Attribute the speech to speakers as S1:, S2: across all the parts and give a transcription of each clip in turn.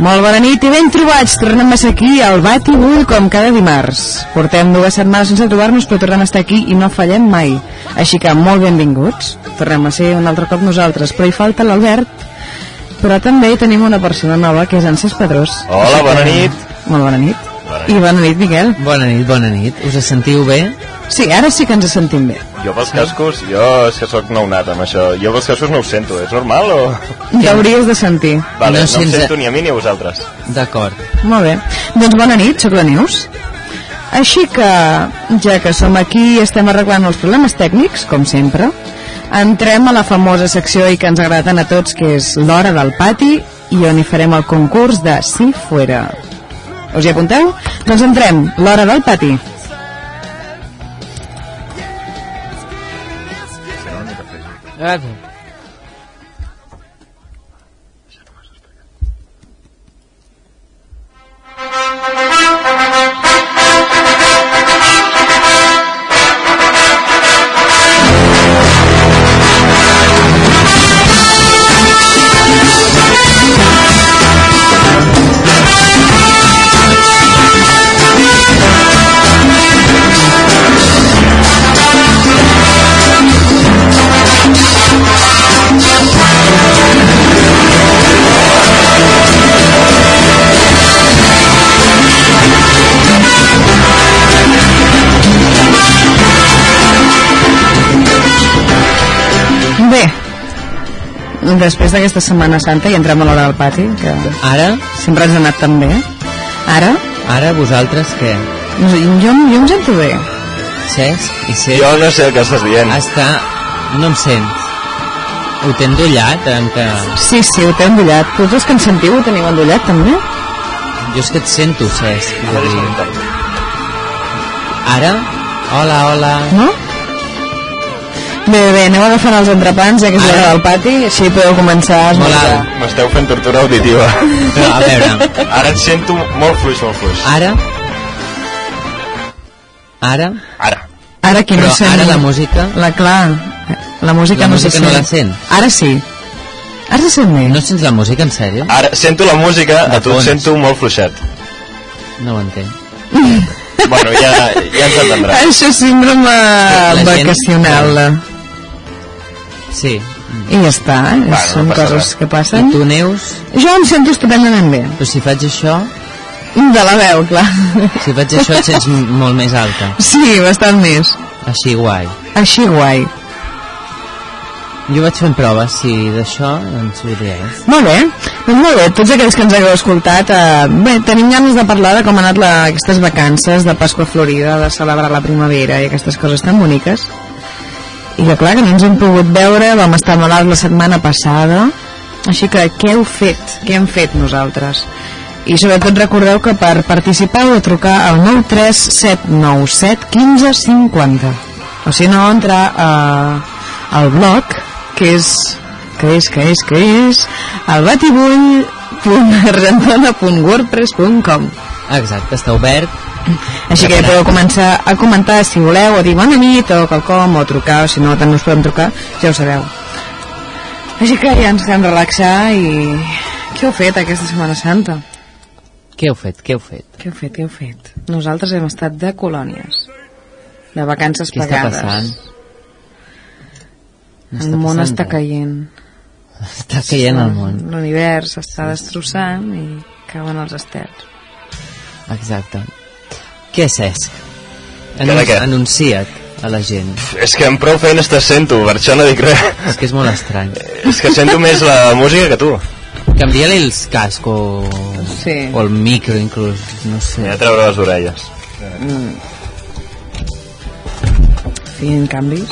S1: Molt bona nit i ben trobats. Tornem a ser aquí al Bati Bull com cada dimarts. Portem dues setmanes sense trobar-nos però tornem a estar aquí i no fallem mai. Així que molt benvinguts. Tornem a ser un altre cop nosaltres, però hi falta l'Albert. Però també tenim una persona nova que és en Cesc Pedrós.
S2: Hola,
S1: Així que,
S2: bona nit.
S1: Molt bona nit. I bona nit, Miquel.
S3: Bona nit, bona nit. Us sentiu bé?
S1: Sí, ara sí que ens sentim bé.
S2: Jo pels cascos, jo és que sóc nounat amb això, jo pels cascos no ho sento, és normal o...?
S1: T'hauries de sentir.
S2: Vale, no, no
S3: No
S2: em
S3: sents-
S2: sento ni a mi ni a vosaltres.
S3: D'acord.
S1: Molt bé. Doncs bona nit, sóc la Neus. Així que, ja que som aquí i estem arreglant els problemes tècnics, com sempre, entrem a la famosa secció i que ens agrada tant a tots, que és l'hora del pati, i on hi farem el concurs de Si Fuera. Us hi apunteu? Doncs entrem, l'hora del pati. Bé, després d'aquesta Setmana Santa i entrem a l'hora del pati, que
S3: Ara,
S1: sempre ens ha anat tan bé. Ara,
S3: ara vosaltres què?
S1: no sé, jo, jo em sento bé.
S3: Cesc i Cesc Ah,
S2: Jo no sé el que estàs dient.
S3: està... No em sents. Ho té endollat, amb que...
S1: Sí, sí, ho té endollat. Tots els que ens sentiu ho teniu endollat, també?
S3: Jo és que et sento, Cesc. és a dir, Ara? Hola, hola.
S1: No? Bé, bé, anem agafant els entrepans, ja que és l'hora del pati, així podeu començar a
S3: Molt
S1: esmorzar.
S3: alt.
S2: M'esteu fent tortura auditiva.
S3: Però, a veure,
S2: Ara et sento molt fluix, molt fluix.
S3: ara... Ara?
S2: Ara.
S1: Ara qui no
S3: Però
S1: sent...
S3: ara la música...
S1: La, clar, la música
S3: La
S1: no
S3: música
S1: se sent.
S3: no la sent.
S1: Ara sí. Ara se sent bé.
S3: No sents la música, en sèrio?
S2: Ara sento la música,
S3: De
S2: a tu et
S3: fons.
S2: sento molt fluixet.
S3: No ho entenc.
S2: Bueno, ja, ja ens entendràs.
S1: Això és síndrome
S3: gent-
S1: vacacional.
S3: Sí.
S1: I ja està, eh?
S2: no
S1: són
S2: passa
S1: coses
S2: res.
S1: que
S3: I
S1: passen.
S3: tu, Neus?
S1: Jo em sento estupendament bé.
S3: Però si faig això,
S1: De la veu, clar.
S3: si faig això et sents m- molt més alta.
S1: Sí, bastant més.
S3: Així, guai.
S1: Així guai.
S3: Jo vaig fent proves, si d'això, doncs ho diré.
S1: Molt bé, doncs molt bé, tots aquells que ens hagueu escoltat, eh, bé, tenim ganes de parlar de com han anat la, aquestes vacances de Pasqua Florida, de celebrar la primavera i aquestes coses tan boniques. I que clar, que no ens hem pogut veure, vam estar malalts la setmana passada, així que què heu fet? Què hem fet nosaltres? I sobretot recordeu que per participar heu de trucar al 93797 1550. O si no, entrar a, al blog, que és que és, que és, que és el batibull.argentona.wordpress.com
S3: Exacte, està obert.
S1: així que ja podeu començar a comentar si voleu, o dir bona nit, o quelcom, o trucar, o si no, tant no us podem trucar, ja ho sabeu. Així que ja ens vam relaxar i... Què heu fet aquesta Setmana Santa?
S3: Què heu fet? Què heu fet?
S1: Què heu fet, què heu fet? Nosaltres hem estat de colònies, de vacances
S3: Què està
S1: pagades.
S3: passant?
S1: El món està
S3: caient.
S1: caient.
S3: Està caient el món.
S1: L'univers s'està destrossant i cauen els estels.
S3: Exacte. Què és Cesc?
S2: de
S3: Anun
S2: què?
S3: anuncia't a la gent.
S2: És que amb prou feines te sento, per això no dic res.
S3: És que és molt estrany.
S2: És que sento més la música que tu.
S3: Canvia-li els casc o...
S1: Sí.
S3: o el micro, inclús. No
S2: Ja
S3: sé.
S2: treure les orelles.
S1: Fent canvis.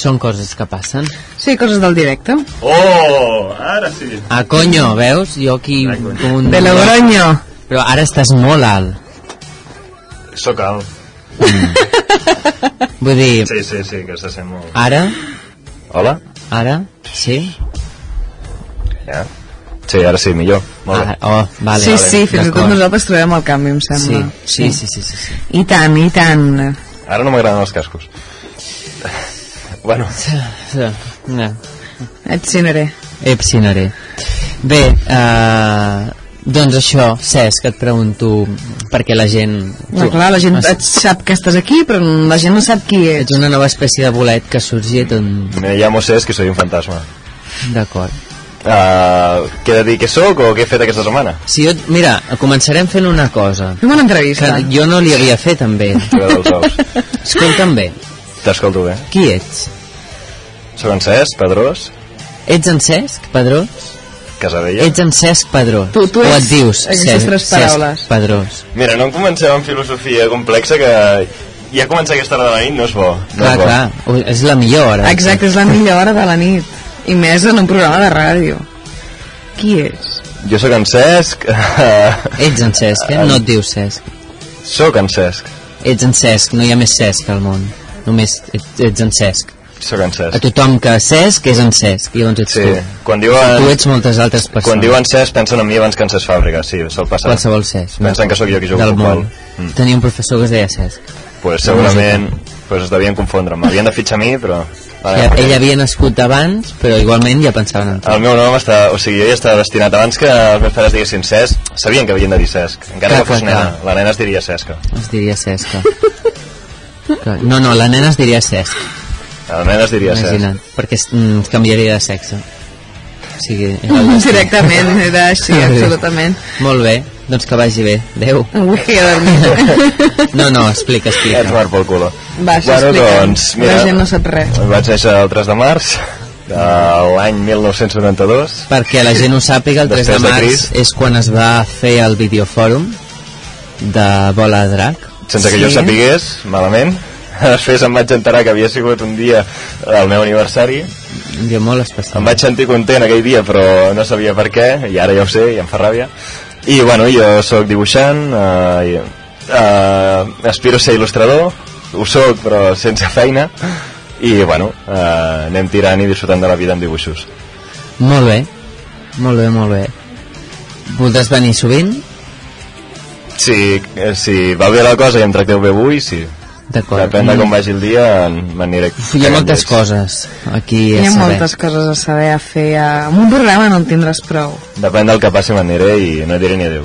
S3: Són coses que passen.
S1: Sí, coses del directe.
S2: Oh, ara sí.
S3: Ah, conyo, veus? Jo aquí...
S2: Ah,
S3: com un-
S1: De Logroño.
S3: Però ara estàs molt alt.
S2: Sóc alt.
S3: Vull dir,
S2: Sí, sí, sí, que se sent molt...
S3: ara,
S2: Hola?
S3: ara, sí?
S2: Ja. Sí, ara sí, millor. Molt
S3: Ara,
S2: bé.
S3: oh, vale,
S1: Sí,
S3: vale,
S1: sí, fins i tot
S3: d'acord.
S1: nosaltres trobem el canvi, em sembla.
S3: Sí, sí, sí, sí, sí, sí.
S1: I tant, i tant.
S2: Ara no m'agraden els cascos. Bueno,
S3: No.
S1: Et cinaré.
S3: Epsinaré. eh, Bé, eh, doncs això, Cesc, et pregunto perquè la gent...
S1: No, clar, la gent
S3: Es-
S1: et sap que estàs aquí, però la gent no sap qui
S3: Ets
S1: ets.
S3: una nova espècie de bolet que ha sorgit on...
S2: me llamo Cesc i soy un fantasma.
S3: D'acord.
S2: Uh, què he de dir que sóc o què he fet aquesta setmana?
S3: Si jo, et- mira, començarem fent una cosa
S1: Fem una
S3: que
S1: entrevista.
S3: jo no li havia fet també.
S2: Jugar dels ous.
S3: Escolta'm bé,
S2: T'escolto bé.
S3: qui ets?
S2: Soc en Cesc, Pedrós,
S3: Ets en Cesc, Pedró?
S2: Casabella.
S3: Ets en Cesc Pedró.
S1: Tu- tu
S3: o
S1: ets
S3: et dius
S1: aquestes tres paraules.
S3: Cesc Pedrós.
S2: Mira, no comencem amb filosofia complexa que ja començar aquesta hora de la nit no és bo. No
S3: Clar,
S2: és bo.
S3: clar, ui, és la millor hora.
S1: Exacte, és la millor hora de la nit. I més en un programa de ràdio. Qui ets?
S2: Jo sóc en Cesc.
S3: Ets en Cesc, eh? No et dius Cesc.
S2: sóc en Cesc.
S3: Ets en Cesc, no hi ha més Cesc al món. Només et, ets en Cesc.
S2: Sóc en
S3: A
S2: Cesc.
S3: tothom que Cesc és en Cesc, i llavors ets
S2: Sí,
S3: tu.
S2: quan
S3: Tu
S2: diuen,
S3: ets moltes altres persones.
S2: quan diuen Cesc pensen en mi abans que en Cesc Fàbrica, sí, sol passar.
S3: Qualsevol Cesc.
S2: Pensen que sóc Mm. jo qui juga
S3: Del
S2: a futbol.
S3: món. Tenia un professor que es deia Cesc.
S2: Pues segurament pues es devien confondre. M'havien de fitxar a mi, però... Vale,
S3: Ja, ell havia nascut abans, però igualment ja pensaven en tu.
S2: El meu nom està... O sigui, jo ja estava destinat abans que els meus pares diguessin Cesc. Sabien que havien de dir Cesc. Encara
S3: Clar,
S2: que fos
S3: clar,
S2: nena.
S3: clar.
S2: La nena es diria Cesca.
S3: Es diria Cesc. eh? Que- No, no, la nena es diria Cesc,
S2: La nena es diria Cesc.
S3: imagina't, perquè es, mm, canviaria de sexe. O sigui, era el destí.
S1: Directament, era així, absolutament.
S3: Molt bé, doncs que vagi bé. Adéu.
S1: Avui que he dormit.
S3: No, no, explica, explica.
S2: Ets mort pel culo.
S1: Va, això
S2: bueno,
S1: explica'm.
S2: doncs,
S1: La
S2: mira,
S1: gent no sap res.
S2: Vaig néixer el 3 de març de l'any 1992.
S3: perquè la gent ho sàpiga, el 3 de
S2: Després de
S3: març
S2: Crist.
S3: és quan es va fer el videofòrum de Bola de Drac.
S2: Sense que jo
S1: Sí.
S2: sapigués, malament. Després em vaig enterar que havia sigut un dia del meu aniversari.
S3: Un dia molt
S2: Em
S3: especial.
S2: vaig sentir content aquell dia, però no sabia per què, i ara ja ho sé, i em fa ràbia. I, bueno, jo sóc dibuixant, eh, i, eh, aspiro a ser il·lustrador, ho sóc, però sense feina, i, bueno, eh, anem tirant i disfrutant de la vida amb dibuixos.
S3: Molt bé, molt bé, molt bé. Voldràs venir sovint?
S2: Si, eh, si va bé la cosa i em tracteu bé avui, sí.
S3: D'acord.
S2: Depèn de com vagi el dia, en- m'aniré...
S3: Mm. Hi ha
S2: cagant
S3: moltes
S2: lleig.
S3: coses aquí a
S1: Hi ha
S3: saber.
S1: moltes coses a saber, a fer. A... Amb un programa no en tindràs prou.
S2: Depèn del que passi, m'aniré i no diré ni adéu.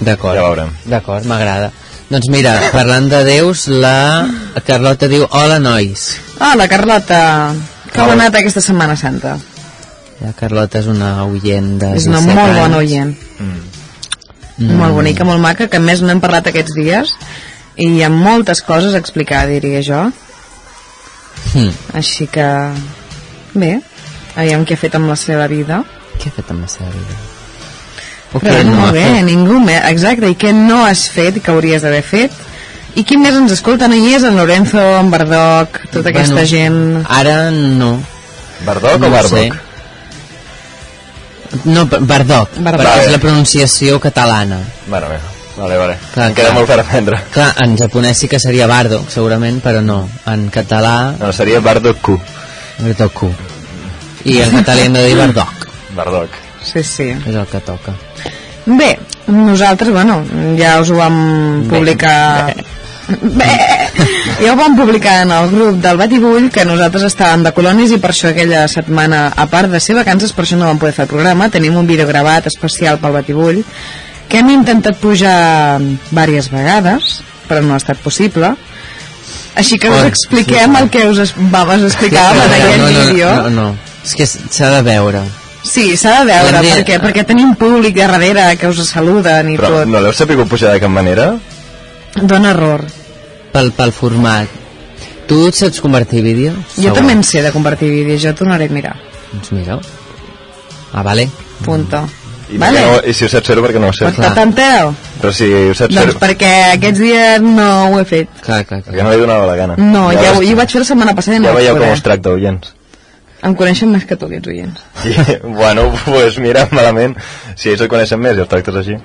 S3: D'acord.
S2: Ja veurem.
S3: D'acord, m'agrada. Doncs mira, parlant de déus, la Carlota diu Hola, nois.
S1: Hola, Ah, Carlota. Com
S2: Hola.
S1: ha anat aquesta Setmana Santa?
S3: La Carlota és una oient de
S1: És una
S3: 17
S1: molt
S3: anys.
S1: bona oient. Mm. Molt bonica, molt maca, que a més n'hem parlat aquests dies i hi ha moltes coses a explicar, diria jo.
S3: Hm.
S1: Així que... Bé, aviam què ha fet amb la seva vida.
S3: Què ha fet amb la seva vida? O
S1: Però
S3: què
S1: bé,
S3: no ha
S1: molt bé,
S3: fet?
S1: ningú més. Exacte, i què no has fet i que hauries d'haver fet? I qui més ens escolta? No hi és en Lorenzo, en Bardoc, tota aquesta
S3: Bueno,
S1: gent...
S3: Ara no.
S2: Bardoc
S3: no
S2: o
S3: ho
S2: Bardoc?
S3: sé. No, Bardoc, Bardoc,
S1: Bardoc.
S3: perquè és
S2: Vale.
S3: la pronunciació catalana.
S2: Bueno, bé. Vale, vale.
S3: Clar,
S2: em queda
S3: clar.
S2: molt per aprendre.
S3: Clar, en japonès sí que seria Bardo, segurament, però no. En català,
S2: No, seria Bardock Q.
S3: Bardoku. I en català hem de dir Bardoc,
S2: Bardoc.
S1: Sí, sí.
S3: és el que toca.
S1: Bé, nosaltres, bueno, ja us ho vam publicar... Bé, ja ho vam publicar en el grup del Batibull que nosaltres estàvem de colònies i per això aquella setmana, a part de ser vacances, per això no vam poder fer el programa. Tenim un vídeo gravat especial pel Batibull que hem intentat pujar diverses vegades, però no ha estat possible. Així que us
S3: Oi,
S1: expliquem el que us es- vam us explicàvem en
S3: no,
S1: aquest
S3: no,
S1: vídeo.
S3: No, no, no. És que s'ha de veure.
S1: Sí, s'ha de veure,
S3: L'Andrea-
S1: perquè, perquè tenim públic de darrere que us saluden i
S2: Però
S1: tot.
S2: no l'heu sabut pujar de cap manera?
S1: Dóna error.
S3: Pel, pel format. Tu et saps convertir vídeo?
S1: Jo també en sé de convertir vídeos, jo tornaré a mirar.
S3: Doncs mireu. Ah, vale.
S1: Punto.
S2: Mm. I,
S1: vale?
S2: perquè no, I si ho saps fer perquè no ho sé.
S1: Pot que t'enteu?
S2: Però si ho saps fer
S1: Doncs perquè aquests dies no ho he fet.
S3: Clar, clar, clar.
S2: perquè no li donava la gana.
S1: No, ja, ho,
S2: veus-
S1: jo ho vaig fer la setmana passada i no
S2: ja
S1: vaig
S2: veieu com
S1: poder.
S2: us tracta, oients.
S1: Em coneixen més que tu, aquests oients.
S2: I, bueno, doncs pues mira, malament, si ells et coneixen més i els tractes així.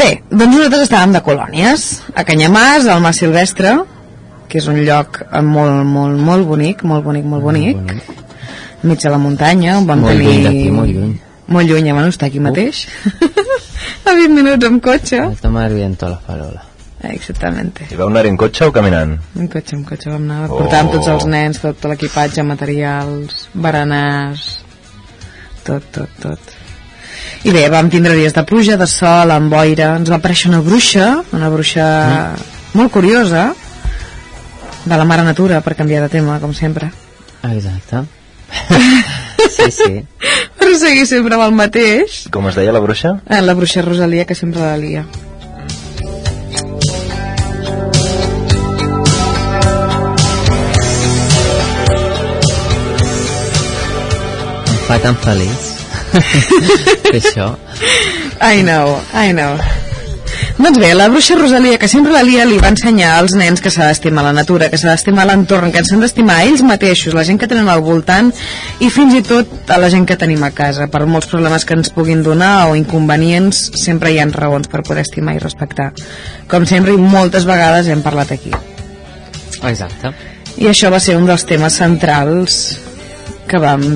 S1: Bé, doncs nosaltres estàvem de colònies, a Canyamàs, al Mas Silvestre, que és un lloc eh, molt, molt, molt bonic, molt bonic, molt bonic, mig de la muntanya, on vam
S3: Molt
S1: tenir...
S3: lluny d'aquí, molt lluny.
S1: Molt lluny, eh, bueno, està aquí mateix. a 20 minuts amb cotxe.
S3: Alta madre viento la farola.
S1: Exactament.
S2: I vau anar en cotxe o caminant?
S1: En cotxe, en cotxe vam anar, portàvem tots els nens, tot l'equipatge, materials, berenars, tot, tot, tot. I bé, vam tindre dies de pluja, de sol, amb boira, ens va aparèixer una bruixa, una bruixa molt curiosa, de la mare natura, per canviar de tema, com sempre.
S3: Exacte. sí, sí.
S1: Però seguir sempre amb el mateix.
S2: Com es deia la bruixa?
S1: Eh, la bruixa Rosalia, que sempre la lia.
S3: Em fa tan feliç. Fer això.
S1: I know, I know. Doncs bé, la bruixa Rosalia, que sempre la lia, li va ensenyar als nens que s'ha d'estimar la natura, que s'ha d'estimar l'entorn, que ens hem d'estimar ells mateixos, la gent que tenen al voltant i fins i tot a la gent que tenim a casa. Per molts problemes que ens puguin donar o inconvenients, sempre hi ha raons per poder estimar i respectar. Com sempre, i moltes vegades hem parlat aquí.
S3: Exacte.
S1: I això va ser un dels temes centrals que vam...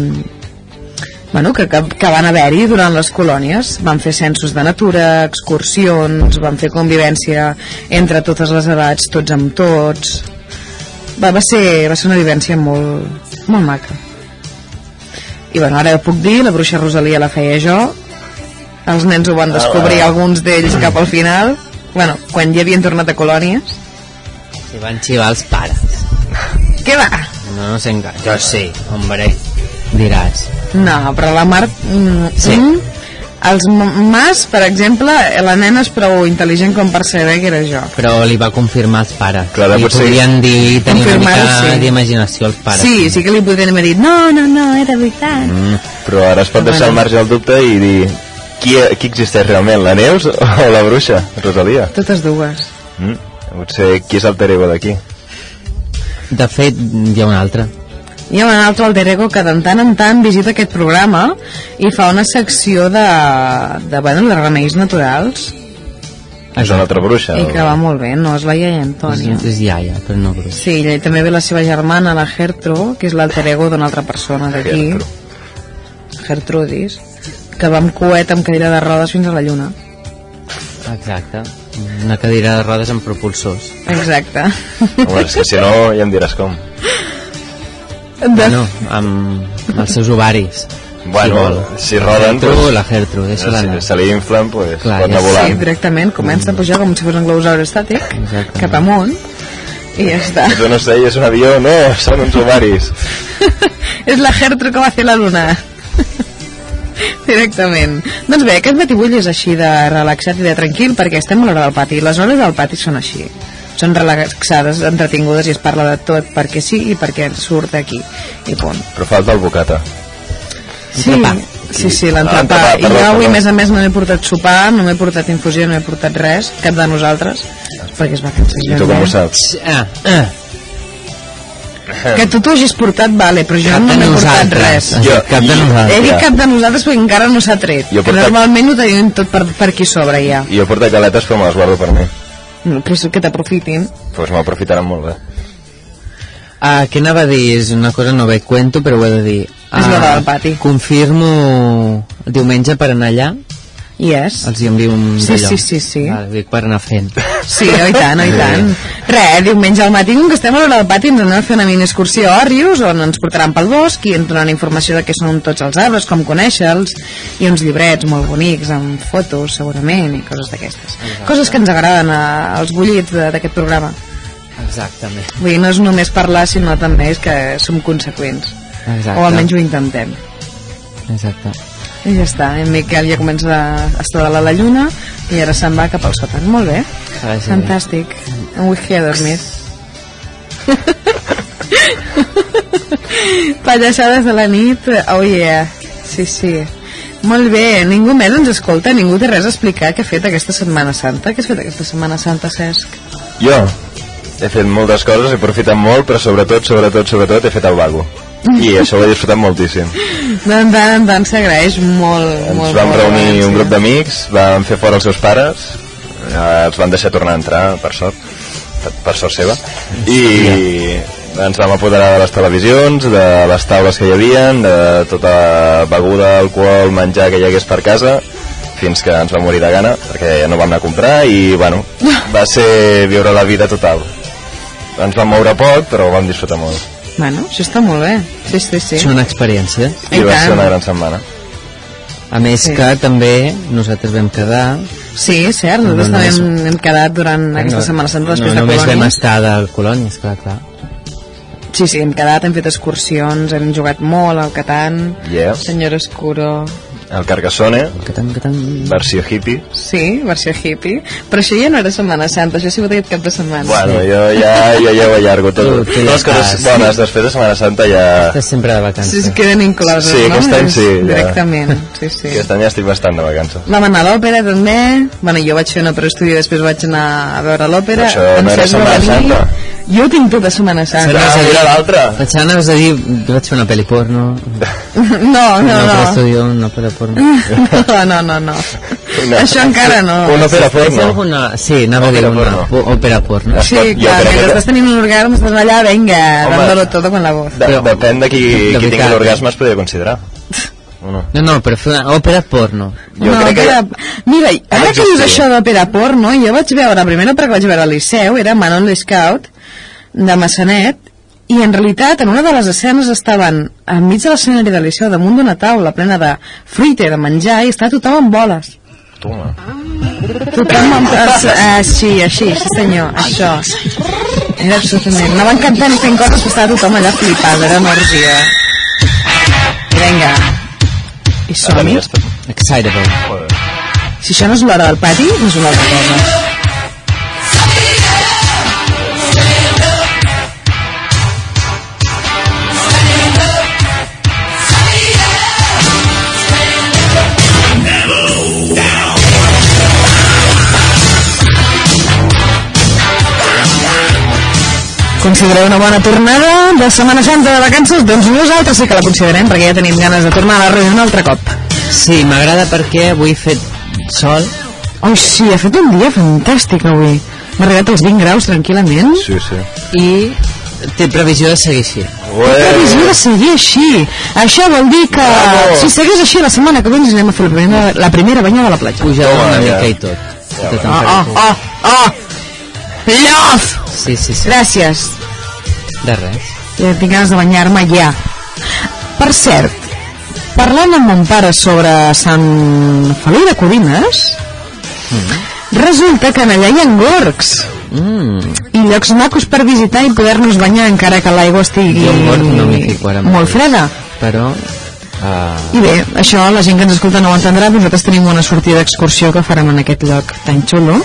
S1: Bueno, que, que, que van haver-hi durant les colònies. Van fer censos de natura, excursions, van fer convivència entre totes les edats, tots amb tots. Va, va, ser, va ser una vivència molt, molt maca. I bueno, ara ho puc dir, la bruixa Rosalia la feia jo, els nens ho van descobrir, alguns d'ells cap al final, bueno, quan ja havien tornat a colònies.
S3: Si van xivar els pares.
S1: Què va?
S3: No, no sé encara. Jo sí, hombre. Diràs.
S1: No, però la Mar... Mm,
S3: Sí.
S1: mm, els m- mas, per exemple, la nena és prou intel·ligent com per saber que era jo.
S3: Però li va confirmar els pares.
S2: Clar,
S3: li
S2: potser-
S3: podrien dir tenir una
S1: Confirmar-ho,
S3: mica
S1: sí.
S3: d'imaginació als pares.
S1: sí, sí que li podrien haver dit no, no, no, era veritat. Mm.
S2: Però ara es pot deixar al marge el dubte i dir qui, e- qui existeix realment, la Neus o la bruixa, Rosalia?
S1: Totes dues.
S2: Mm? Potser qui és el Terego d'aquí?
S3: De fet, hi ha un altre.
S1: Hi ha un altre alter ego que de tant en tant visita aquest programa i fa una secció de, de, bueno, de remeis naturals
S2: És una altra bruixa?
S1: i
S2: o-
S1: que va molt bé, no? És la iaia Antònia.
S3: És, és iaia, però no bruixa.
S1: Sí, i també ve la seva germana, la Gertro, que és l'alter ego d'una altra persona d'aquí.
S2: Gertru.
S1: Gertrudis, que va amb coet amb cadira de rodes fins a la lluna.
S3: Exacte. Una cadira de rodes amb propulsors.
S1: Ah. Exacte.
S2: Home, és que si no ja em diràs com.
S1: De...
S3: No, amb, amb els seus ovaris.
S2: Bueno,
S3: vol.
S2: si roden... doncs, eh,
S3: Gertrude, la Gertrude, deixa-la
S2: si
S3: anar.
S2: se li inflen, pues,
S3: Clar,
S2: pot anar
S3: ja sé.
S1: Sí,
S2: volant.
S1: directament, comença a pujar com si fos un globosaure estàtic,
S3: Exacte.
S1: cap amunt, i ja està.
S2: És un ocell, és un avió, no, són uns ovaris.
S1: és la Gertrude que va fer la luna directament doncs bé, aquest batibull és així de relaxat i de tranquil perquè estem a l'hora del pati i les hores del pati són així són relaxades, entretingudes i es parla de tot perquè sí i perquè surt d'aquí i punt
S2: Però falta el bocata.
S1: sí,
S3: Entrepà.
S1: sí, sí
S2: Ah,
S1: l'entrepà
S2: entrepà,
S1: i jo
S2: perdó,
S1: avui
S2: perdó.
S1: a més a més no m'he portat sopar no m'he portat infusió, no m'he portat res cap de nosaltres perquè es va cansar
S2: I tu com ho
S1: eh?
S2: saps?
S3: Ah, ah,
S1: que tu t'ho hagis portat, vale però jo
S3: cap
S1: no
S3: de
S1: m'he portat
S3: nosaltres.
S1: res Eh,
S3: Jo, cap de
S1: He dit
S3: nosaltres.
S1: cap de nosaltres perquè encara no s'ha tret.
S2: Jo
S1: Que
S2: portat-
S1: normalment ho tenim tot per, per aquí sobre ja.
S2: Jo porto caletes però me les guardo per mi.
S1: No, però és que t'aprofitin.
S2: Doncs pues m'aprofitaran molt eh. bé.
S3: Ah, què anava a dir? És una cosa no ve cuento, però ho he de dir. Ah,
S1: l'hora del pati.
S3: Confirmo diumenge per anar allà.
S1: Yes.
S3: Els hi envio un
S1: Sí,
S3: d'allò.
S1: sí, sí, sí.
S3: Vale, dic per anar fent.
S1: Sí, oi tant, oi tant. Re, diumenge al matí, com que estem a l'hora del pati, ens anem a fer una mini excursió a Rius, on ens portaran pel bosc i ens donaran informació de què són tots els arbres, com conèixer-los, i uns llibrets molt bonics, amb fotos, segurament, i coses d'aquestes. Coses que ens agraden eh, als bullits de- d'aquest programa.
S3: Exactament.
S1: Vull dir, no és només parlar, sinó també és que som conseqüents.
S3: Exacte.
S1: O almenys ho intentem.
S3: Exacte.
S1: I ja està, en Miquel ja comença a estar a la lluna i ara se'n va cap al sòtan. Molt bé,
S3: Que vagi bé.
S1: fantàstic. Un whisky a dormir. Pallassades de la nit, oh yeah, sí, sí. Molt bé, ningú més ens escolta, ningú té res a explicar què ha fet aquesta Setmana Santa. Què has fet aquesta Setmana Santa, Cesc?
S2: Jo he fet moltes coses, he aprofitat molt, però sobretot, sobretot, sobretot he fet el vago. I això ho he disfrutat moltíssim.
S1: De tant en tant s'agraeix molt,
S2: Ens
S1: molt,
S2: vam
S1: molt,
S2: reunir
S1: l'absència.
S2: un grup d'amics, vam fer fora els seus pares, eh, els van deixar tornar a entrar, per sort, per, per sort seva, i ens vam apoderar de les televisions, de les taules que hi havia, de tota beguda, alcohol, menjar que hi hagués per casa, fins que ens va morir de gana, perquè no vam anar a comprar i, bueno, va ser viure la vida total. Ens vam moure poc, però ho vam disfrutar molt.
S1: Bueno, això està molt bé. Sí, sí, sí.
S3: És una experiència.
S2: I,
S1: I
S2: va ser
S1: tant.
S2: una gran setmana.
S3: A més
S1: Sí.
S3: que també nosaltres vam quedar...
S1: Sí, és cert, nosaltres
S3: No, no,
S1: també
S3: no,
S1: hem, hem quedat durant aquesta Setmana Santa després
S3: no,
S1: de
S3: només vam
S1: Colònia.
S3: estar de Colònia, esclar, clar.
S1: Sí, sí, hem quedat, hem fet excursions, hem jugat molt al Catan,
S2: Yeah.
S1: Senyor Escuro...
S2: El Carcassonne,
S3: Que tan, que tan...
S2: versió hippie.
S1: Sí, versió hippie. Però això ja no era Setmana Santa, això ha sigut aquest cap de setmana.
S2: Bueno, jo ja, jo ja ho allargo tot.
S3: Tu-
S2: Totes
S3: tu ja
S2: les
S3: estàs.
S2: coses bones després de Setmana Santa ja...
S3: Estàs sempre de vacances.
S1: Sí, es queden incloses,
S2: Sí,
S1: no?
S2: aquest any
S1: És
S2: sí, ja.
S1: Directament, sí, sí.
S2: Aquest any ja estic bastant de vacances.
S1: Vam anar a l'òpera també bueno, jo vaig fer una preestudi després vaig anar a veure l'òpera
S2: Però això no
S1: en
S2: era
S1: Cesc
S2: Setmana
S1: va venir.
S2: Santa.
S1: jo ho tinc tot a Setmana Santa
S2: Ah, mira l'altra!
S3: Pensava anaves a dir, jo vaig fer una pel·li porno,
S1: no, no,
S3: una pel·li
S1: no
S3: estudio, una pel·li porno.
S1: no, no, no, no. això encara no
S2: Una opera
S3: Hi ha
S2: porno.
S3: alguna... Sí, anava a dir
S2: Òpera
S3: una
S2: porno.
S3: po- òpera porno.
S1: sí,
S2: Escolta, jo
S1: clar,
S2: crec
S1: que
S2: que-
S1: estàs tenint un orgasme estàs allà, venga,
S2: Home.
S1: dándolo todo con la voz
S2: De,
S3: Però-
S2: depèn de qui,
S3: de
S2: qui tingui
S3: veritat. eh?
S2: l'orgasme es podria considerar. O no?
S3: No, no, però fer una òpera porno.
S2: Jo
S1: no,
S2: crec que...
S1: Pere- Mira, ara que dius
S2: existia.
S1: això de Pere Porno, jo vaig veure, la primera perquè vaig veure al Liceu, era Manon Lescaut, de Massanet, i en realitat en una de les escenes estaven enmig de l'escenari del Liceu damunt d'una taula plena de fruita i de menjar i estava tothom amb boles.
S2: Toma.
S1: Tothom amb... eh, Així, així, sí senyor, això. Era absolutament... Anaven cantant i fent coses que estava tothom allà flipada, era una orgia. Vinga. I som-hi.
S2: Tenies...
S3: Excitable.
S2: Joder.
S1: Si això no és l'hora del pati, no és una altra cosa. Considereu una bona tornada de Setmana Santa de vacances? Doncs nosaltres sí que la considerem, perquè ja tenim ganes de tornar a la ràdio un altre cop.
S3: Sí, m'agrada perquè avui he fet sol.
S1: Oh, sí, ha fet un dia fantàstic avui. M'ha arribat als 20 graus tranquil·lament
S2: Sí, sí.
S3: i té previsió de seguir així.
S2: Ué,
S1: previsió de seguir així. Això vol dir que
S2: Bravo.
S1: si segueix així la setmana que ve ens anem a fer la primera, la primera banya de la platja.
S3: Pujada
S2: Toma,
S3: una
S2: ja.
S3: mica i tot. Ja,
S1: Oh, oh, oh, oh! Love!
S3: Sí, sí, sí.
S1: Gràcies.
S3: De res.
S1: Ja tinc ganes de banyar-me ja. Per cert, parlant amb mon pare sobre Sant Feliu de Codines,
S2: Mm.
S1: resulta que en allà hi ha gorgs.
S3: Mm.
S1: i llocs macos per visitar i poder-nos banyar encara que l'aigua estigui
S3: Jo mort no m'hi fico ara
S1: molt
S3: mateix.
S1: freda
S3: Però... Uh,
S1: i bé, això la gent que ens escolta no ho entendrà però nosaltres tenim una sortida d'excursió que farem en aquest lloc tan xulo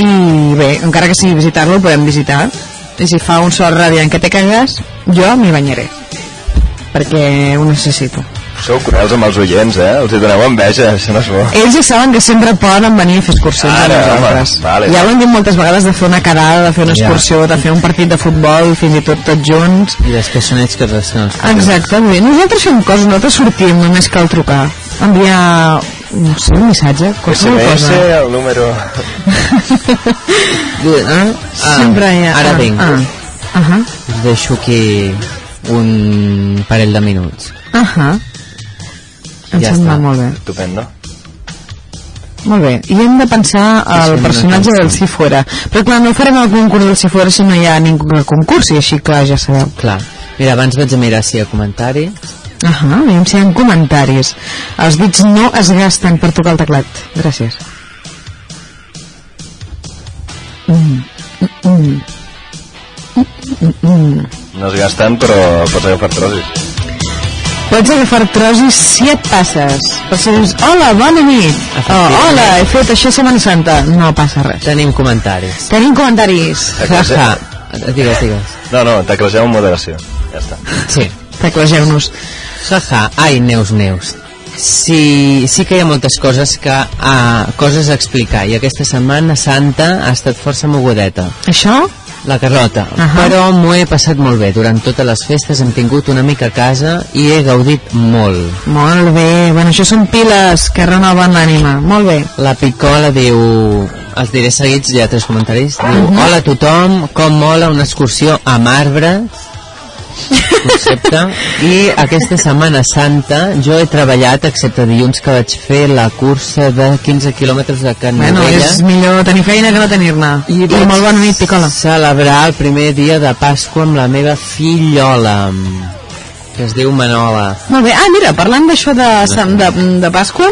S1: i bé, encara que sigui visitar-lo ho podem visitar i si fa un sol radiant que te cagues jo m'hi banyaré perquè ho necessito
S2: sou cruels amb els oients, eh? Els hi doneu enveja, això no és bo.
S1: ells ja saben que sempre poden venir a fer excursions
S2: Ara,
S1: amb
S2: home,
S1: nosaltres
S2: vale.
S1: ja ho hem dit moltes vegades de fer una quedada, de fer una
S3: Ja.
S1: excursió de fer un partit de futbol fins i tot tots junts
S3: I després són ells que els que no els fan.
S1: Exacte, bé, nosaltres fem coses, nosaltres sortim, només cal trucar, enviar, no sé, un missatge, qualsevol
S2: SMS,
S1: cosa.
S2: el número...
S3: Ah, ah,
S1: Sempre hi ha...
S3: Ara vinc.
S1: Ah, ah, ah,
S3: Us deixo aquí un parell de minuts.
S1: ah, ah. Em
S3: Ja
S1: sembla
S3: està.
S1: molt bé.
S2: Estupendo.
S1: Molt bé, i hem de pensar
S3: sí,
S1: al
S3: una
S1: personatge
S3: cançó.
S1: del Si Fuera. Però clar, no farem el concurs del Si Fuera si no hi ha ningú que concursi, així clar, ja sabeu.
S3: Clar. Mira, abans vaig a mirar si hi ha comentari.
S1: Ahà, aviam si hi ha comentaris. Els dits no es gasten per tocar el teclat. Gràcies.
S2: No es gasten, però pots agafar trozis.
S1: Pots agafar trozos si et passes. Per si dius, hola, bona nit. O, hola, he fet això Setmana Santa. No passa res.
S3: Tenim comentaris.
S1: Tenim comentaris.
S3: Ja està. Digues, digues.
S2: No, no, teclegeu amb moderació. Ja està.
S3: Sí.
S1: Teclegeu-nos.
S3: Jaja, ai, Neus, Neus. Sí, sí que hi ha moltes coses que ah, coses a explicar i aquesta setmana Santa ha estat força mogudeta
S1: Això?
S3: la Carlota,
S1: Ahà.
S3: però m'ho he passat molt bé durant totes les festes hem tingut una mica a casa i he gaudit molt
S1: Molt bé. Bueno, això són piles que renoven l'ànima. Molt bé.
S3: la Picola diu els diré seguits,
S1: Mhm.
S3: hi ha tres comentaris diu, hola a tothom, com mola una excursió a marbre concepte i aquesta setmana santa jo he treballat excepte dilluns que vaig fer la cursa de 15 quilòmetres de
S1: Bueno,
S3: Canovella
S1: és millor tenir feina que no tenir-ne. I, I
S3: vaig
S1: molt bona nit, Picola.
S3: celebrar el primer dia de Pasqua amb la meva fillola que es diu Manola
S1: Molt bé. Ah, mira, parlant d'això de, Sant- de, de Pasqua,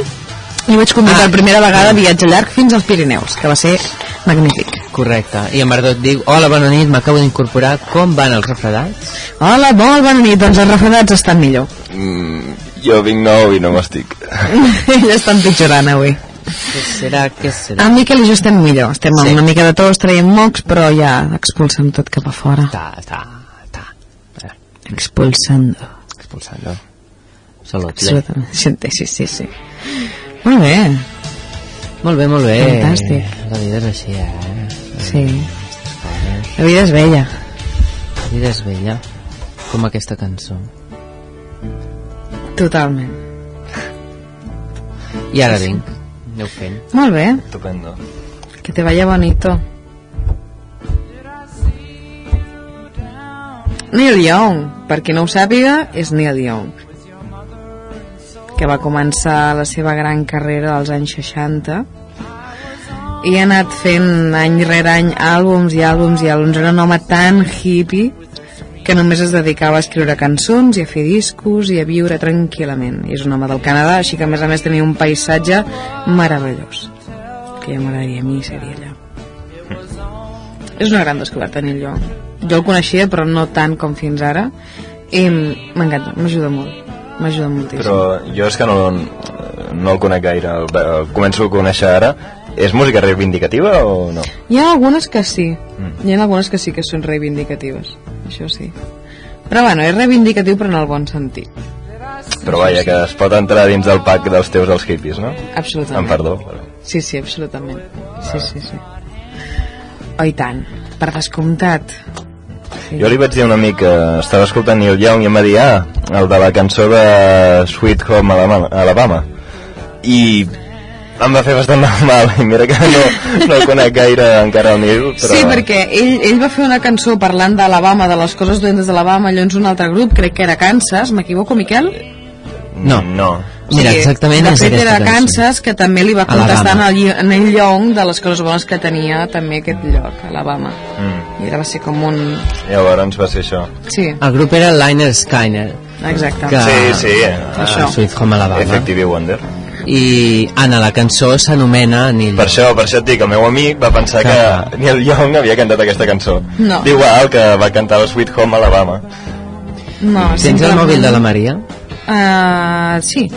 S1: jo vaig convidar
S3: Ah.
S1: per primera vegada a viatge llarg fins als Pirineus, que va ser magnífic.
S3: correcte i en Bardot diu hola bona nit m'acabo d'incorporar com van els refredats?
S1: Hola, molt bona nit. Doncs els refredats estan millor.
S2: Mm, jo vinc nou i no m'estic.
S1: Ells estan pitjorant avui.
S3: què serà, què serà?
S1: En Miquel i jo estem millor. Estem amb
S3: Sí.
S1: una mica de tos, traiem mocs, però ja expulsem tot cap a fora.
S3: ta, ta, ta Eh,
S1: Expulsando.
S3: expulsant-lo salut bé.
S1: Absolutament. Sí, sí, sí, sí. Molt bé.
S3: molt bé, molt bé
S1: Fantàstic.
S3: la vida és així eh?
S1: Sí. La vida és bella.
S3: La vida és vella, com aquesta cançó.
S1: Totalment.
S3: I ara vinc, aneu fent.
S1: Molt bé.
S2: Estupendo.
S1: Que te vaya bonito. Neil Young, per qui no ho sàpiga, és Neil Young que va començar la seva gran carrera als anys 60 i ha anat fent any rere any àlbums i àlbums i àlbums era un home tan hippie que només es dedicava a escriure cançons i a fer discos i a viure tranquil·lament i és un home del Canadà així que a més a més tenia un paisatge meravellós que ja m'agradaria a mi seria allà és una gran descoberta Neil Young jo el coneixia però no tant com fins ara i m'encanta, m'ajuda molt m'ajuda moltíssim
S2: Però jo és que no, no el conec gaire, el, el començo a conèixer ara. És música reivindicativa o no?
S1: Hi ha algunes que sí.
S3: Mm.
S1: Hi ha algunes que sí que són reivindicatives. Això sí. Però bueno, és reivindicatiu però en el bon sentit.
S2: Però vaja, que es pot entrar dins del pack dels teus els hippies, no? Amb
S1: Absolutament.
S2: perdó. Però...
S1: Sí, sí, absolutament. Sí, sí, sí. Oh, i tant. Per descomptat.
S2: Jo li vaig dir a un amic que estava escoltant Neil Young i em va dir, ah, el de la cançó de Sweet Home Alabama. Alabama. I em va fer bastant mal, i mira que no, no el conec gaire encara el Neil, però...
S1: Sí, perquè ell, ell va fer una cançó parlant d'Alabama, de les coses dolentes d'Alabama, llavors un altre grup, crec que era Kansas, m'equivoco, Miquel?
S3: No.
S2: No.
S3: Mira,
S1: Sí,
S3: exactament
S1: de
S3: és
S1: fet,
S3: aquesta
S1: era Kansas, que també li va
S3: Alabama.
S1: contestar en el, lli- en el llong de les coses bones que tenia també aquest lloc, Alabama.
S2: Mm.
S1: I era, va ser com un...
S2: Llavors va ser això.
S1: Sí,
S3: El grup era Liner Skyner,
S1: exacte.
S3: Que-
S2: Sí,
S3: Ah,
S2: sí.
S1: Això.
S2: Ah,
S3: Sweet Home Alabama.
S2: Effective Wonder.
S3: I Anna, la cançó s'anomena Neil.
S2: Per això, per això et dic, el meu amic va pensar que Neil Young havia cantat aquesta cançó.
S1: No.
S2: Diu, ah, el que va cantar el Sweet Home Alabama.
S1: No,
S3: Tens el mòbil de la Maria?
S1: Uh, sí.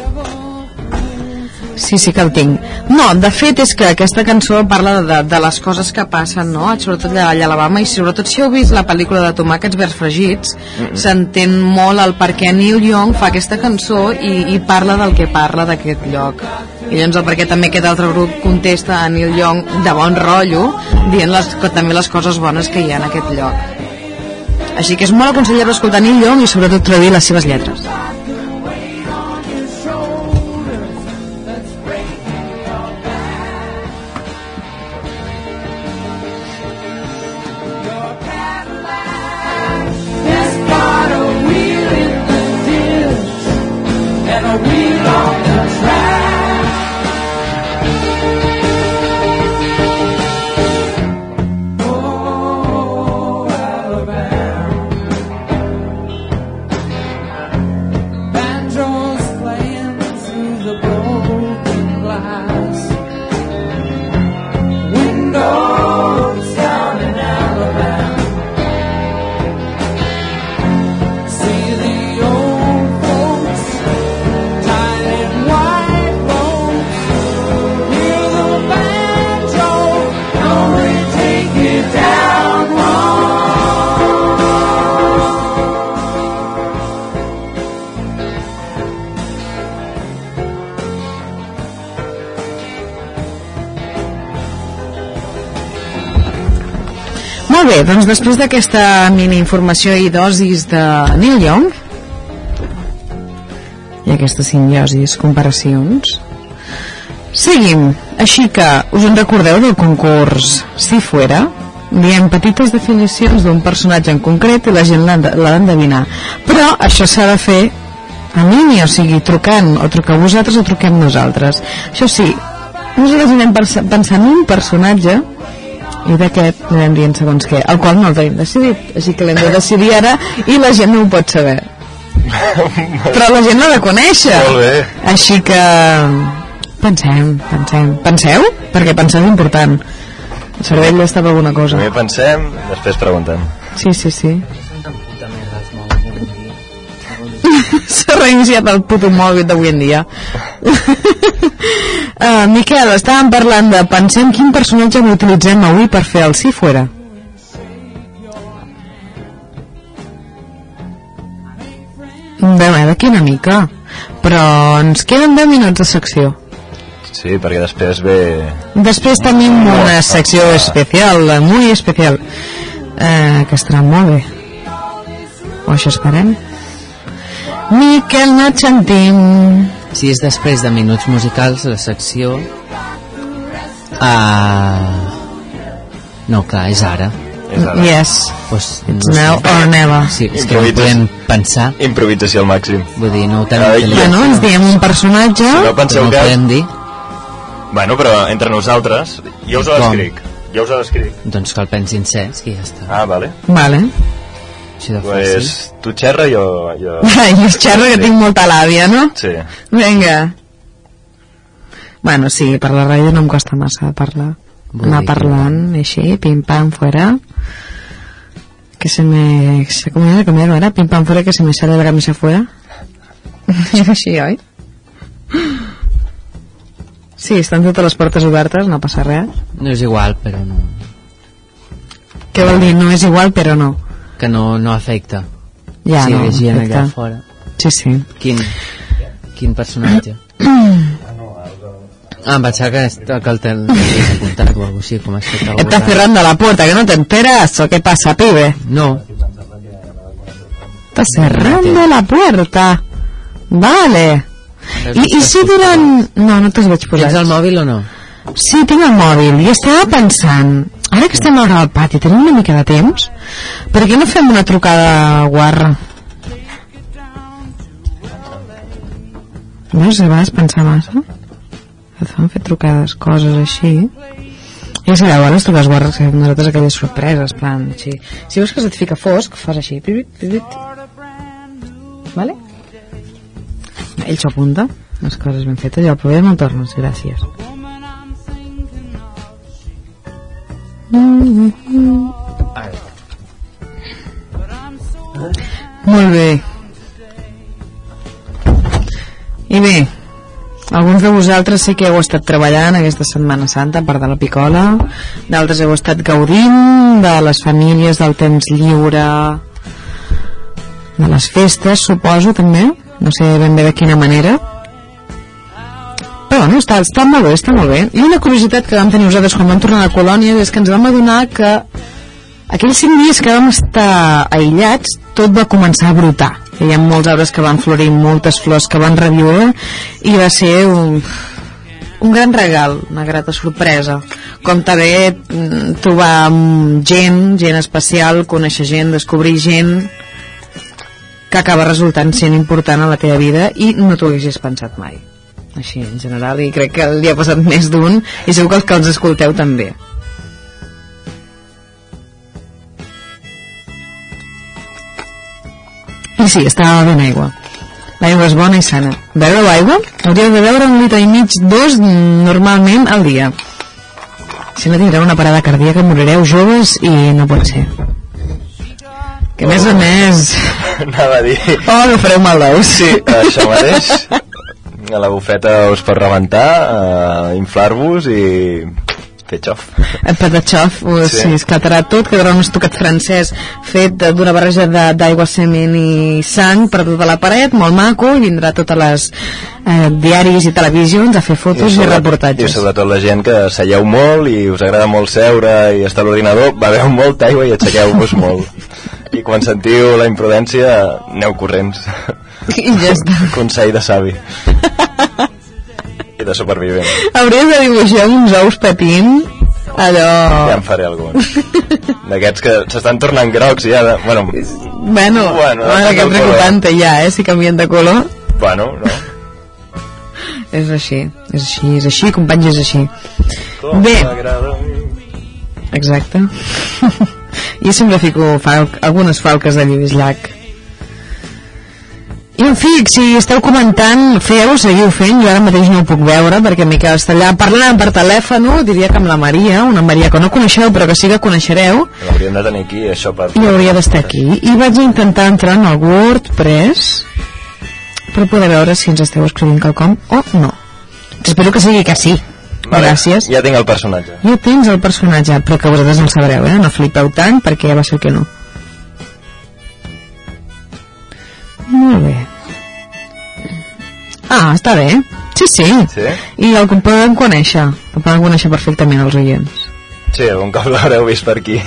S1: Sí, sí que el tinc. No, de fet és que aquesta cançó parla de, de les coses que passen, no? Sobretot allà a Alabama i sobretot si heu vist la pel·lícula de tomàquets verds fregits, s'entén molt el per què Neil Young fa aquesta cançó i, i parla del que parla d'aquest lloc. I llavors el perquè també aquest altre grup contesta a Neil Young de bon rotllo, dient les, que també les coses bones que hi ha en aquest lloc. Així que és molt aconsellable escoltar Neil Young i sobretot traduir les seves lletres.
S4: This got a wheel in the ditch and a wheel on the track. Oh, Alabama. Banjos playing through the broken glass. Windows down in Alabama. See the old folks, tired and white folks. Hear the banjo, come and take it down home.
S1: Molt bé, doncs després d'aquesta mini informació i dosis de Neil Young i aquestes simbiosis, comparacions seguim, així que us en recordeu del concurs Si Fuera diem petites definicions d'un personatge en concret i la gent l'ha de- l'ha d'endevinar. Però això s'ha de fer en línia, o sigui, trucant, o truqueu vosaltres o truquem nosaltres. Això sí, nosaltres anem pers- pensant en un personatge i d'aquest anem dient segons què, el qual no el tenim decidit, així que l'hem de decidir ara i la gent no ho pot saber. Però la gent l'ha de conèixer.
S2: Molt bé.
S1: Així que pensem, pensem. Penseu? Perquè pensar és important. El cervell està per alguna cosa.
S2: Primer pensem, després preguntem.
S1: Sí, sí, sí. S'ha reiniciat el puto mòbil d'avui en dia. uh, Miquel, estàvem parlant de pensem quin personatge no utilitzem avui per fer el si fuera. Bé, bé, d'aquí una mica. Però ens queden 10 minuts de secció.
S2: Sí, perquè després ve...
S1: Després tenim una secció especial, muy especial, eh, que estarà molt bé. O això esperem. Miquel Natxantín.
S3: Si és després de minuts musicals, la secció... Uh... No, clar, és ara.
S2: És ara.
S1: Yes,
S3: Pues,
S1: it's now or never.
S3: Sí, és que no
S2: Improvises.
S3: podem pensar.
S2: Improvisació al màxim.
S3: Vull dir, no ho tenim
S2: Ai,
S3: intel·ligència,
S1: Bueno, ens diem un personatge.
S2: No
S3: però
S2: penseu
S3: no ho
S2: que...
S3: podem dir.
S2: Bueno, però entre nosaltres... Jo us ho
S3: Com?
S2: descric. Jo us ho descric.
S3: Doncs que el pensin cens, que ja està.
S2: Ah, vale.
S1: Vale.
S3: Així de fàcil.
S2: Pues, tu xerra, jo... jo...
S1: I es xerra que tinc molta làbia, no?
S2: Sí.
S1: Vinga. Bueno, sí, per la ràdio no em costa massa de parlar.
S3: Vull
S1: Anar
S3: dir que-
S1: parlant així, pim-pam, fuera. Que se me... Se, com era, com era, era? Pim-pam, fuera, que se me sale la camisa fuera. així, oi? Sí, estan totes les portes obertes, no passa res.
S3: No és igual, però no...
S1: Què vol dir? No és igual, però no.
S3: Que no, no afecta.
S1: Ja,
S3: sí,
S1: no,
S3: de gent allà
S1: perfecte.
S3: fora.
S1: Sí, sí.
S3: Quin, quin personatge? ah, em pensava que, est- que el ten l'havies apuntat o alguna així, com has fet alguna
S1: Estás cerrando la puerta, que no te enteras, o què passa, pibe?
S3: No,
S1: Está cerrando la puerta. Vale. I, i si durant... No, no te'ls vaig posar.
S3: tens el mòbil o no?
S1: Sí, tinc el mòbil. I estava pensant, ara que estem ara al pati, tenim una mica de temps, per què no fem una trucada guarra? Veus, a vegades pensar massa. Et fan fer trucades, coses així. Ja sabeu, ara les trucades guarres que fem nosaltres aquelles sorpreses, plan, així. Si veus que se't fica fosc, fas així, pipit, pipit. Vale? Ell s'ho apunta, les coses ben fetes, i el problema me'n tornes, gràcies. Molt bé. I bé, alguns de vosaltres sé que heu estat treballant aquesta Setmana Santa, a part de la picola, d'altres heu estat gaudint de les famílies, del temps lliure, de les festes, suposo, també. No sé ben bé de quina manera. Però, no, està, està molt bé, està molt bé. I una curiositat que vam tenir nosaltres quan vam tornar a la colònia és que ens vam adonar que aquells cinc dies que vam estar aïllats, tot va començar a brotar. Hi ha molts arbres que van florir, moltes flors que van reviure, i va ser un, un gran regal, una grata sorpresa. Com també mm, trobar mm, gent, gent especial, conèixer gent, descobrir gent que acaba resultant sent important a la teva vida i no t'ho haguessis pensat mai. Així, en general, i crec que li ha passat més d'un i segur que els que els escolteu també. I sí, estava bevent aigua. L'aigua és bona i sana. Beure aigua? Hauríeu de beure un litre i mig, dos, mm, normalment al dia. Si no tindreu una parada cardíaca, morireu joves i no pot ser. Que a més a més...
S2: Anava a dir...
S1: Oh, no fareu mal d'ous.
S2: Sí, això mateix. A la bufeta us pot rebentar, eh, inflar-vos i fer xof.
S1: El patatxof, Eh, o sí.
S2: Sí.
S1: sí, esclatarà tot, quedarà un estucat francès fet de- d'una barreja de- d'aigua, cement i sang per tota la paret, molt maco, i vindrà a totes les eh, diaris i televisions a fer fotos i,
S2: sobre- I
S1: reportatges.
S2: sobretot la gent que seieu molt i us agrada molt seure i estar a l'ordinador, beveu molta aigua i aixequeu-vos molt. I quan sentiu la imprudència, aneu corrents.
S1: I ja està.
S2: Consell de savi. I de supervivent.
S1: Hauries de dibuixar uns ous patint
S2: Ja
S1: allò...
S2: en faré alguns. D'aquests que s'estan tornant grocs ja. De... Bueno,
S1: Bueno,
S2: Bueno,
S1: bueno mare, que
S2: depèn del color.
S1: preocupant ja, eh, si canvien de color.
S2: bueno, no.
S1: És així, és així, és així, companys, és així.
S2: Com
S1: Bé.
S2: m'agrada.
S1: Exacte. jo sempre fico falc, algunes falques de Lluís Llach. I en fi, si esteu comentant, feu, seguiu fent, jo ara mateix no ho puc veure perquè Miquel està allà parlant per telèfon, diria que amb la Maria, una Maria que no coneixeu però que sí que coneixereu,
S2: L'hauríem de tenir aquí, això, per...
S1: i hauria d'estar aquí. I vaig intentar entrar en el WordPress per poder veure si ens esteu escrivint quelcom o no. Espero que sigui que sí.
S2: Vale,
S1: Gràcies.
S2: Ja tinc el personatge.
S1: Ja tens el personatge, però que vosaltres no el sabreu, eh? No flipeu tant, perquè ja va ser que no. Molt bé. Ah, està bé. Sí, sí.
S2: Sí?
S1: I el que poden conèixer. El poden conèixer perfectament els oients.
S2: Sí, un cop l'haureu vist per aquí.
S1: Jo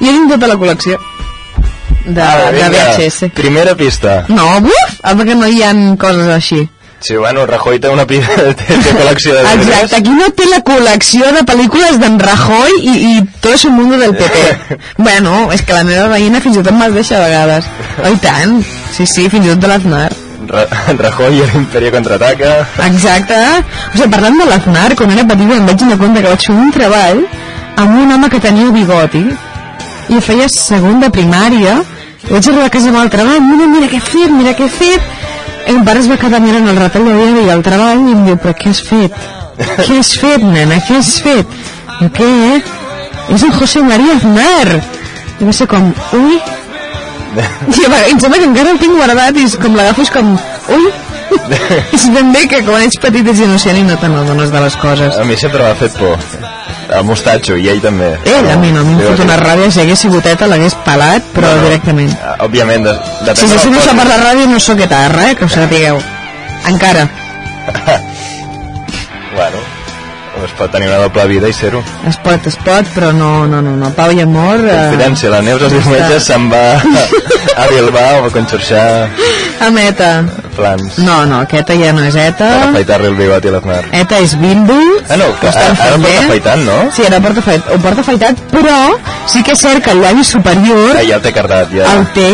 S1: tinc tota la col·lecció de, de
S2: Ara, Ah, vinga,
S1: VHS.
S2: Primera pista.
S1: No, buf! Ah, perquè no hi ha coses així.
S2: Sí, bueno, Rajoy té una pi... té, té col·lecció de llibres.
S1: Exacte, aquí no té la col·lecció de pel·lícules d'en Rajoy i, i tot el mundo del PP. bueno, és que la meva veïna fins i tot me'ls deixa a vegades. Oh, i tant. Sí, sí, fins i tot de l'Aznar.
S2: Ra Rajoy i l'Imperio contraataca.
S1: Exacte. O sigui, parlant de l'Aznar, quan era petita em vaig donar compte que vaig fer un treball amb un home que tenia bigoti i feia segon de primària i vaig arribar a casa amb el treball mira, mira què he fet, mira què he fet i el pare es va quedar mirant el ratell de vida i el treball i em diu, però què has fet? què has fet, nena, què has fet? I què, eh? És en José María Aznar i va ser com, ui i a vegades, em sembla que encara el tinc guardat i és com l'agafo és com, ui és ben bé que quan ets petit ets innocent i no te n'adones de les coses
S2: A mi sempre m'ha fet por. El mostatxo, i ell també.
S1: Ell, Eh, a mi no, a mi em
S2: Diu,
S1: fot una ràbia si hagués sigut ETA l'hagués pelat, però
S2: no.
S1: directament.
S2: Ah, Òbviament, de, depèn
S1: Si
S2: de
S1: se
S2: la
S1: sent això
S2: cosa.
S1: per la ràdio no sóc etarra, eh, que ho sapigueu. Encara,
S2: Bueno, es pot tenir una doble vida i ser-ho.
S1: es pot, es pot, però no, no, no, no. Pau i amor... Eh,
S2: Confidència, la Neus els diumenges se'n va a Bilbao a conxorxar
S1: amb ETA.
S2: plans
S1: No, no, aquesta ja no és ETA.
S2: per afaitar-li el bigot i l'Aznar.
S1: ETA és bíndul.
S2: Ah, no,
S1: que
S2: ara-
S1: estan
S2: ara
S1: fent
S2: porta
S1: bé.
S2: afaitant, no?
S1: Sí, ara porta afaitat, ho porta afaitat, però sí que és cert que el llavi superior
S2: Ah, ja el té cardat, ja.
S1: el té...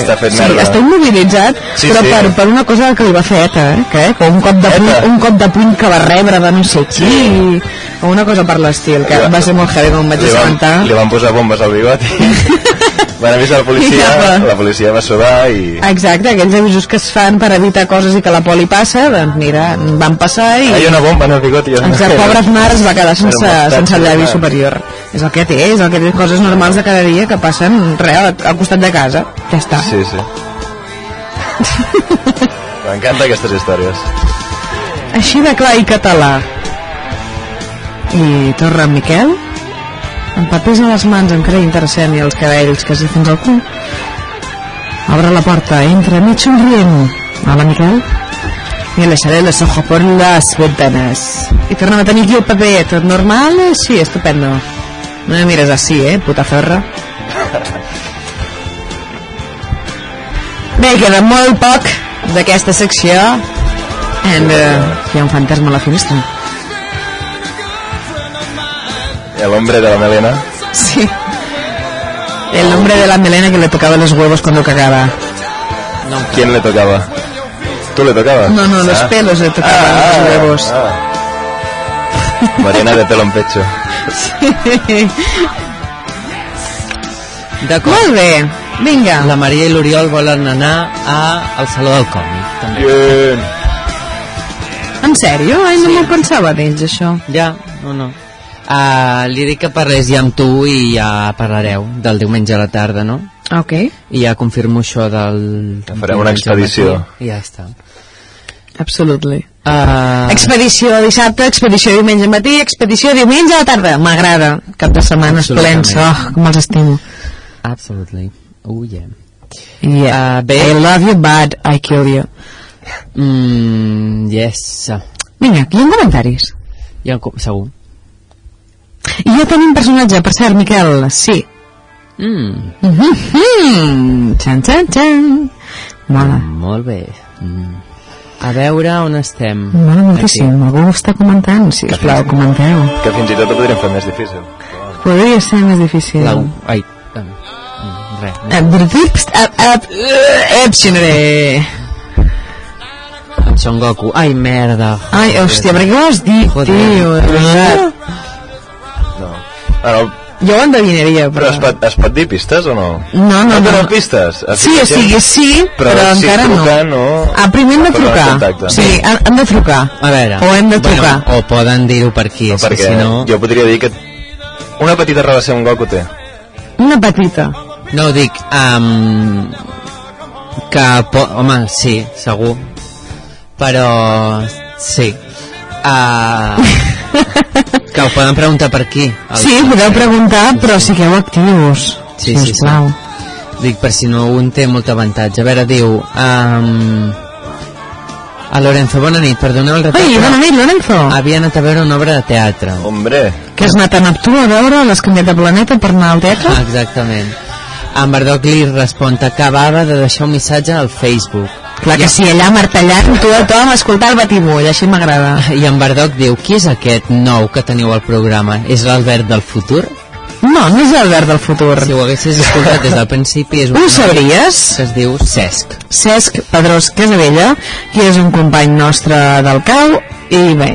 S2: Està fet
S1: sí,
S2: merda.
S1: està immobilitzat,
S2: Sí,
S1: però
S2: sí.
S1: Per, per una cosa que li va fer ETA, eh? Que, eh? que un, cop de
S2: ETA.
S1: puny, un cop de puny que va rebre de no sé qui,
S2: Sí.
S1: o una cosa per l'estil, que
S2: Li va-
S1: va ser molt heavy com em vaig
S2: Li van,
S1: assabentar.
S2: li van posar bombes al bigot i van avisar la policia,
S1: I apa.
S2: la policia va sobar i...
S1: Exacte, aquells avisos que es fan per evitar coses i que la poli passa, doncs mira, van passar i...
S2: Hi ha una bomba en el bigot i... jo no
S1: Exacte,
S2: sé.
S1: pobre Aznar es va quedar sense,
S2: Era un estat
S1: sense el llavi
S2: solar.
S1: superior. És el que té, és el que té coses normals de cada dia que passen re, al, al costat de casa. Ja està.
S2: Sí, sí. M'encanta aquestes històries.
S1: Així de clar i català. I torna en Miquel, amb papers a les mans, encara interessant, i els cabells quasi fins al cul. Obre la porta, entra mig somrient. Hola, Miquel. I deixaré les ojos por las ventanas. I tornem a tenir aquí el paper. eh, Tot normal? Sí, estupendo. No me mires així, eh, puta ferra. Bé, queda molt poc d'aquesta secció. And, uh, hi ha un fantasma a la finestra.
S2: El hombre de la melena.
S1: Sí. El nombre de la melena que le tocaba los huevos cuando cagaba.
S2: ¿Quién le tocaba? ¿Tú le tocabas?
S1: No, no, los
S2: Ah.
S1: pelos le tocaban los huevos.
S2: ah. Mariana de pelo en pecho.
S3: D'acord.
S1: Molt bé. Vinga.
S3: La Maria i l'Oriol volen anar a al Saló del Còmic, també.
S2: Bien.
S1: En sèrio? Ai, no m'ho pensava d'ells, això.
S3: Ja, no, no. Uh, li dic que parlés ja amb tu i ja parlareu del diumenge a la tarda, no?
S1: Ah, Ok.
S3: I ja confirmo això del...
S2: Que fareu una
S3: diumenge al
S2: expedició.
S3: matí. I ja està.
S1: Absolutely.
S3: Uh,
S1: Expedició dissabte, expedició diumenge al matí, expedició diumenge a la tarda. M'agrada. Cap de setmanes
S3: Absolutament.
S1: plens. Oh, com els estimo.
S3: absolutely. Oh, yeah.
S1: Yeah.
S3: Uh, bé,
S1: I love you, but I kill you.
S3: mm, yes.
S1: Vinga, hi ha comentaris.
S3: Ja, co- segur.
S1: I ja tenim personatge, per cert, Miquel. Sí.
S3: Mm,
S1: Mhm. Xan, xan, xan. Mola.
S3: molt bé. Mm. A veure on estem.
S1: Bueno, moltíssim. Algú ho està comentant? Si us plau, comenteu.
S2: Que fins i tot ho podríem fer més difícil.
S1: Podria ser més difícil. Eh,
S3: La... Ai, em, em, res.
S1: Epsinere.
S3: Em Son Goku. Ai, merda.
S1: Ai, hòstia, per què ho has dit,
S3: Joder.
S1: tio? De veritat.
S2: No. Bueno,
S1: Jo ho endevinaria,
S2: però
S1: però...
S2: es pot, es pot dir pistes o no?
S1: No, no, no.
S2: No donen pistes. Aquí
S1: Sí,
S2: la
S1: o
S2: gent-
S1: sigui, sí, però, però
S2: si
S1: encara
S2: truquen,
S1: no.
S2: no.
S1: Ah, primer hem de
S2: Però
S1: trucar.
S2: contacte.
S1: O sigui, han, han de trucar.
S3: A veure.
S1: O hem de trucar.
S3: Bueno, o poden dir-ho per aquí, no, és
S2: perquè
S3: que si no...
S2: jo podria dir que una petita relació amb Goku té.
S1: Una petita.
S3: No, ho dic... Um, que... Po... Home, sí, segur. Però... Sí. Uh, que ho poden preguntar per aquí. al-
S1: Sí, podeu preguntar, però sigueu actius.
S3: Sí, sí, sí.
S1: sisplau.
S3: Dic, per si no un té molt avantatge. A veure, diu... Um, a Lorenzo, bona nit, perdoneu el retard.
S1: Ai,
S3: però
S1: bona nit, Lorenzo.
S3: Havia anat a veure una obra de teatre.
S2: Hombre,
S1: Que has anat a Neptú a veure, l'has canviat de planeta per anar al teatre?
S3: Exactament. En Bardock li respon, t'acabava de deixar un missatge al Facebook.
S1: Clar que sí, allà martellant tu a tothom a escoltar el batibull, així m'agrada.
S3: I en Bardock diu, qui és aquest nou que teniu al programa? És l'Albert del futur?
S1: No, no és l'Albert del futur.
S3: Si ho haguessis escoltat des del principi, és un
S1: Ho
S3: noi
S1: sabries?
S3: que es diu Cesc.
S1: Cesc Pedrós Casabella, que és un company nostre del cau i bé,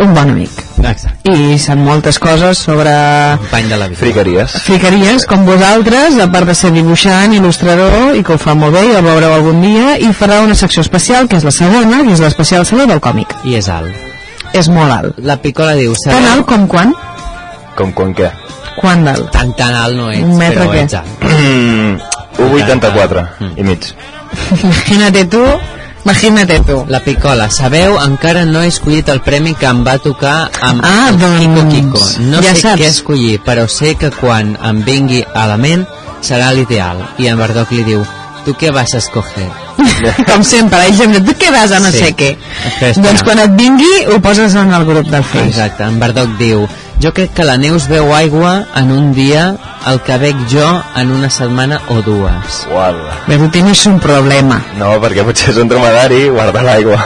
S1: un bon amic.
S3: Exacte.
S1: I sap moltes coses sobre
S3: Company de la vida.
S2: friqueries.
S1: friqueries com vosaltres, a part de ser dibuixant, il·lustrador, i que ho fa molt bé, i el veureu algun dia, i farà una secció especial, que és la segona, que és l'especial Saló del Còmic.
S3: I és alt.
S1: És molt alt.
S3: La Picola diu,
S1: Tan alt com quan?
S2: Com quan què?
S1: Quan d'alt?
S3: Tan tan alt no ets,
S1: Un metre
S3: però
S1: què?
S3: ets alt.
S2: Mm, 1,84 i mig.
S1: Imagina't tu, imagina't tu.
S3: La Picola, sabeu, encara no he escollit el premi que em va tocar amb
S1: Ah,
S3: el Kiko
S1: doncs,
S3: Kiko. No
S1: ja
S3: sé
S1: saps.
S3: què escollir, però sé que quan em vingui a la ment serà l'ideal. I en Bardock li diu, tu què vas a escoger?
S1: com sempre, la gent diu, tu què vas a no
S3: Sí.
S1: sé què?
S3: Espera, espera.
S1: Doncs quan et vingui ho poses en el grup del Face.
S3: Exacte, en Bardock diu, jo crec que la Neus veu aigua en un dia, el que bec jo en una setmana o dues.
S2: Uau.
S1: Bé, tu tens un problema.
S2: No, perquè potser és un dromedari guardar l'aigua.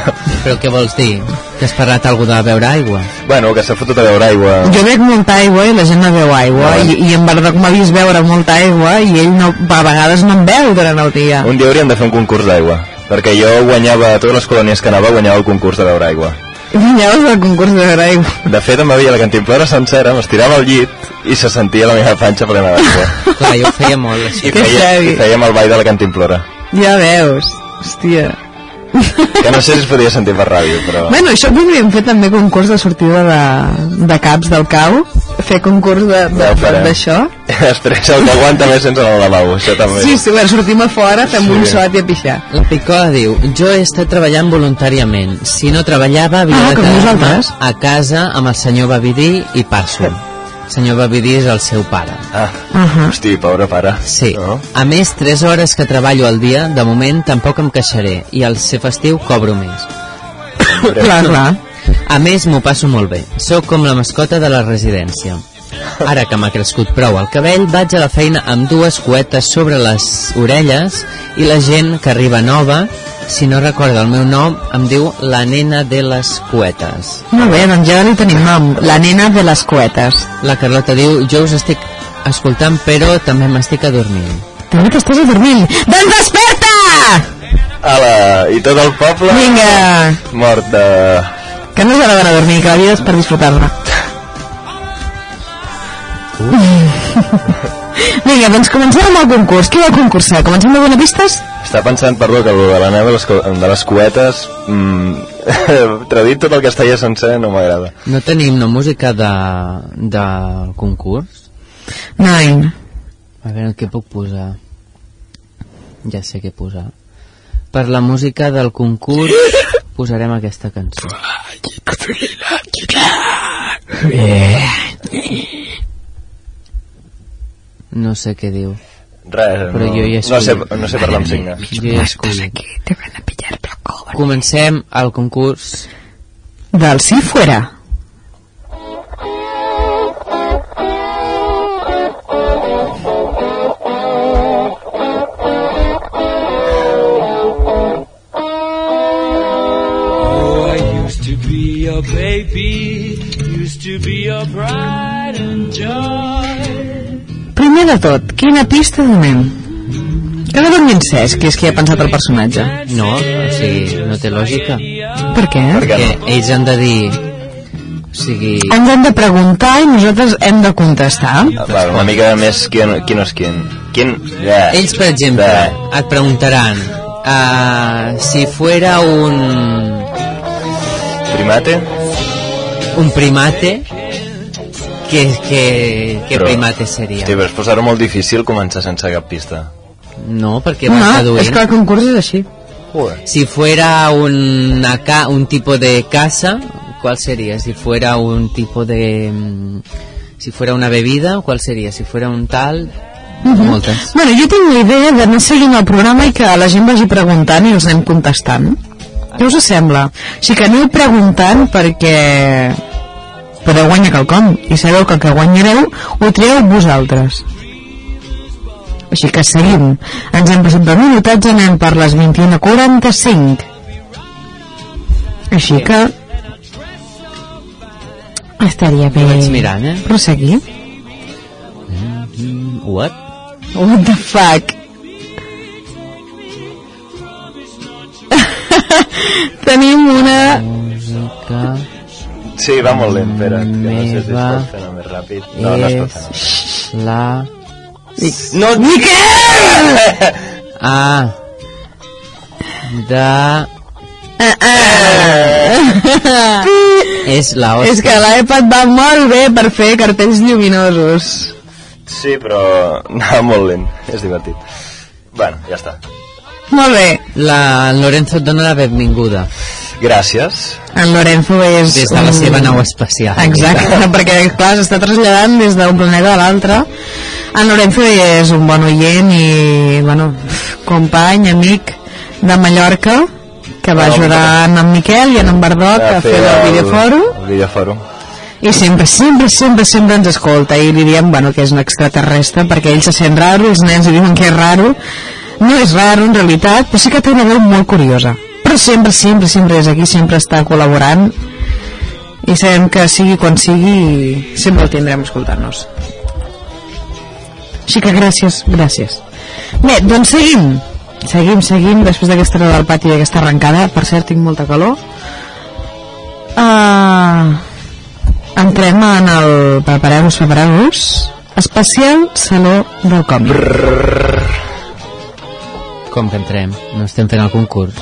S3: Però què vols dir? Que has parlat algú de beure aigua?
S2: Bueno, que s'ha fotut a veure aigua.
S1: Jo bec molta aigua i la gent no veu aigua i, i en Bardoc m'ha vist beure molta aigua i ell no, a vegades no en veu durant el dia.
S2: Un dia hauríem de fer un concurs d'aigua. Perquè jo guanyava, a totes les colònies que anava, guanyava el concurs de beure aigua.
S1: Llavors el concurs de beure aigua.
S2: De fet, em bevia la cantimplora sencera, m'estirava al llit i se sentia la meva panxa plena d'aigua.
S3: Clar, jo ho feia molt,
S2: I,
S3: així.
S1: Que
S2: feia, I
S1: heavy.
S2: fèiem el ball de la cantimplora.
S1: Ja veus, hòstia.
S2: Que no sé si es podia sentir per ràdio, però...
S1: Bueno, això podríem fer també concurs de sortida de, de caps del cau, fer concurs de- de-
S2: ho farem.
S1: de- d'això.
S2: Després el que aguanta més sense anar al lavabo, això també.
S1: Sí, sí, bueno, sortim a fora, fem
S2: Sí.
S1: un sot i a pixar.
S3: La Picola diu, jo he estat treballant voluntàriament. Si no treballava, havia
S1: Ah,
S3: de
S1: com
S3: quedar
S1: nosaltres.
S3: a casa amb el senyor Bavidí i passo. El senyor Bavidí és el seu pare.
S2: Ah,
S1: Uh -huh.
S2: hosti, pobre pare.
S3: Uh-huh. Sí.
S2: No?
S3: A més, 3 hores que treballo al dia, de moment tampoc em queixaré i al ser festiu cobro més.
S1: Clar, clar.
S3: A més, m'ho passo molt bé. Sóc com la mascota de la residència. Ara que m'ha crescut prou el cabell, vaig a la feina amb dues cuetes sobre les orelles i la gent que arriba nova, si no recorda el meu nom, em diu la nena de les cuetes.
S1: Molt bé, doncs ja li tenim nom, la nena de les cuetes.
S3: La Carlota diu, jo us estic escoltant però també m'estic adormint.
S1: També t'estàs adormint. Doncs desperta!
S2: Ala, i tot el poble...
S1: Vinga,
S2: Mort de...
S1: que no és hora d'anar a dormir, que la vida és per disfrutar-la. Vinga, doncs comencem amb el concurs. Qui vol concursar? Comencem de donar pistes?
S2: Està pensant, perdó, que allò de la neu de les, co- de les cuetes... Mm, traduït tot el castellà sencer no m'agrada.
S3: No tenim no música de, de concurs?
S1: Nine.
S3: A veure, què puc posar? Ja sé què posar. Per la música del concurs posarem aquesta cançó. No sé què diu.
S2: Res,
S3: Però
S2: no,
S3: jo ja
S2: no, sé,
S3: escollo.
S2: no sé parlar amb signes.
S3: Jo he escollit.
S1: Te van a pillar pel cobre.
S3: Comencem el concurs.
S1: Del sí fuera.
S4: Oh, Used to be a baby, used to be a pride and joy.
S1: Primer de tot, quina pista donem? Que no dormi en Cesc, que és qui ha pensat el personatge.
S3: No, o sigui, no té lògica.
S1: Per què?
S2: Perquè
S3: Que
S2: no.
S3: ells han de dir... O sigui...
S1: Ens hem de preguntar i nosaltres hem de contestar.
S2: Ah, Va, una mica més quin, quin és quin. Quin... Yeah.
S3: Ells, per exemple, et preguntaran uh, si fuera un,
S2: Primate?
S3: un primate, ¿qué, qué, qué
S2: Però-
S3: primate seria?
S2: Hosti, però és posar-ho molt difícil començar sense cap pista.
S3: No, perquè
S1: No,
S3: vas
S1: és
S3: deduint.
S1: que el concurs és així.
S2: Joder.
S3: Si fuera una ca un tipo de casa, ¿cuál sería? Si fuera un tipo de... mm, Si fuera una bebida, ¿cuál sería? Si fuera un tal...
S1: Mhm.
S3: Moltes.
S1: Bueno, jo tinc la idea de anar seguint el programa i que la gent vagi preguntant i els anem contestant. Què us sembla? Així que aneu preguntant perquè podeu guanyar quelcom i sabeu que el que guanyareu ho trieu vosaltres. Així que seguim. Ens hem passat de minutatge, anem per les 21.45. Així que... Estaria bé.
S3: Vaig mirant, eh?
S1: Proseguir.
S3: What?
S1: What the fuck? Tenim una...
S3: Música...
S2: Sí, va molt lent, espera't, que no sé si es
S3: Meva
S2: pot fer anar més ràpid. No, no es pot fer anar.
S3: és la...
S1: No, Miquel!
S3: A... Da... És la
S1: És
S3: hòstia.
S1: que l'EPA et va molt bé per fer cartells lluminosos.
S2: Sí, però anava molt lent. És divertit. Bueno, ja està.
S1: Molt bé.
S3: La el Lorenzo et dona la benvinguda
S2: Gràcies.
S1: En Lorenzo és...
S3: des de la
S1: un-
S3: seva nau espacial.
S1: Exacte, perquè clar, s'està traslladant des d'un planeta a l'altre. En Lorenzo és un bon oient i, bueno, company, amic de Mallorca, que va
S2: Ah,
S1: ajudar en en Miquel i en en Bardoc a fer el videoforo
S2: El videoforo.
S1: i sempre, sempre, sempre, sempre ens escolta i li diem, bueno, que és un extraterrestre perquè ell se sent raro, els nens li diuen que és raro no és raro en realitat però sí que té una veu molt curiosa però sempre, sempre, sempre és aquí sempre està col·laborant i sabem que sigui quan sigui sempre el tindrem escoltant-nos així que gràcies, gràcies bé, doncs seguim seguim, seguim, després d'aquesta hora del pati i d'aquesta arrencada, per cert tinc molta calor ah... Entrem en el Prepareu-vos, prepareu-vos Especial Saló del Còmic
S3: Com que entrem? No estem fent el concurs.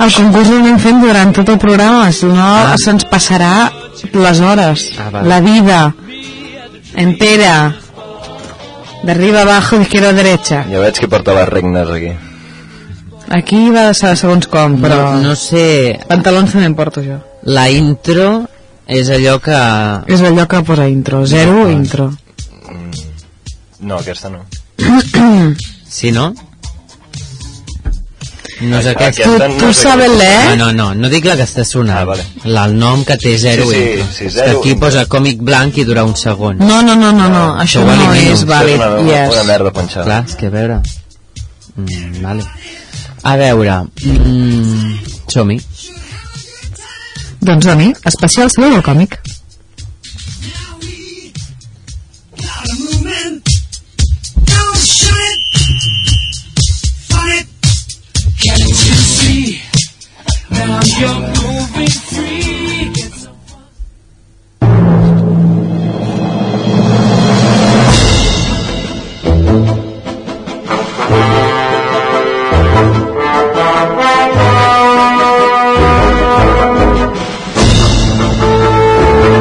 S1: El concurs l'anem fent durant tot el programa Si no,
S3: Ah.
S1: se'ns passarà les hores
S3: Ah, va.
S1: La vida Entera D'arriba abajo, d'izquierda a derecha
S2: Ja veig que porta les regnes aquí.
S1: Aquí va de ser segons com Però
S3: No, no sé...
S1: pantalons també en porto jo
S3: La intro és allò que...
S1: És allò que posa intro,
S3: Ah,
S1: zero intro
S2: No, aquesta no.
S3: Sí, no? No és Eh? aquesta.
S1: Tu,
S2: Aquesta no
S1: tu
S2: sé
S1: sabes
S2: què-
S1: l'eh?
S3: Ah, No, no, no, no dic la que està sonant.
S2: Ah, vale.
S3: La, el nom que té zero Ah.
S2: Sí, sí,
S3: intro.
S2: sí,
S3: És
S2: zero
S3: que aquí
S2: intro.
S3: posa còmic blanc i dura un segon.
S1: No, no, no, no, no, això
S3: ho
S1: no
S3: elimino.
S1: és
S3: Això
S1: vàlid
S2: Una, una,
S1: yes.
S2: una merda punxada.
S3: Clar, és que a veure... Mm, vale. A veure... Mm, Som-hi.
S1: Doncs doni, especial Saló del Còmic
S4: Oh, Can't you see? Now you're moving free. It's
S5: Thank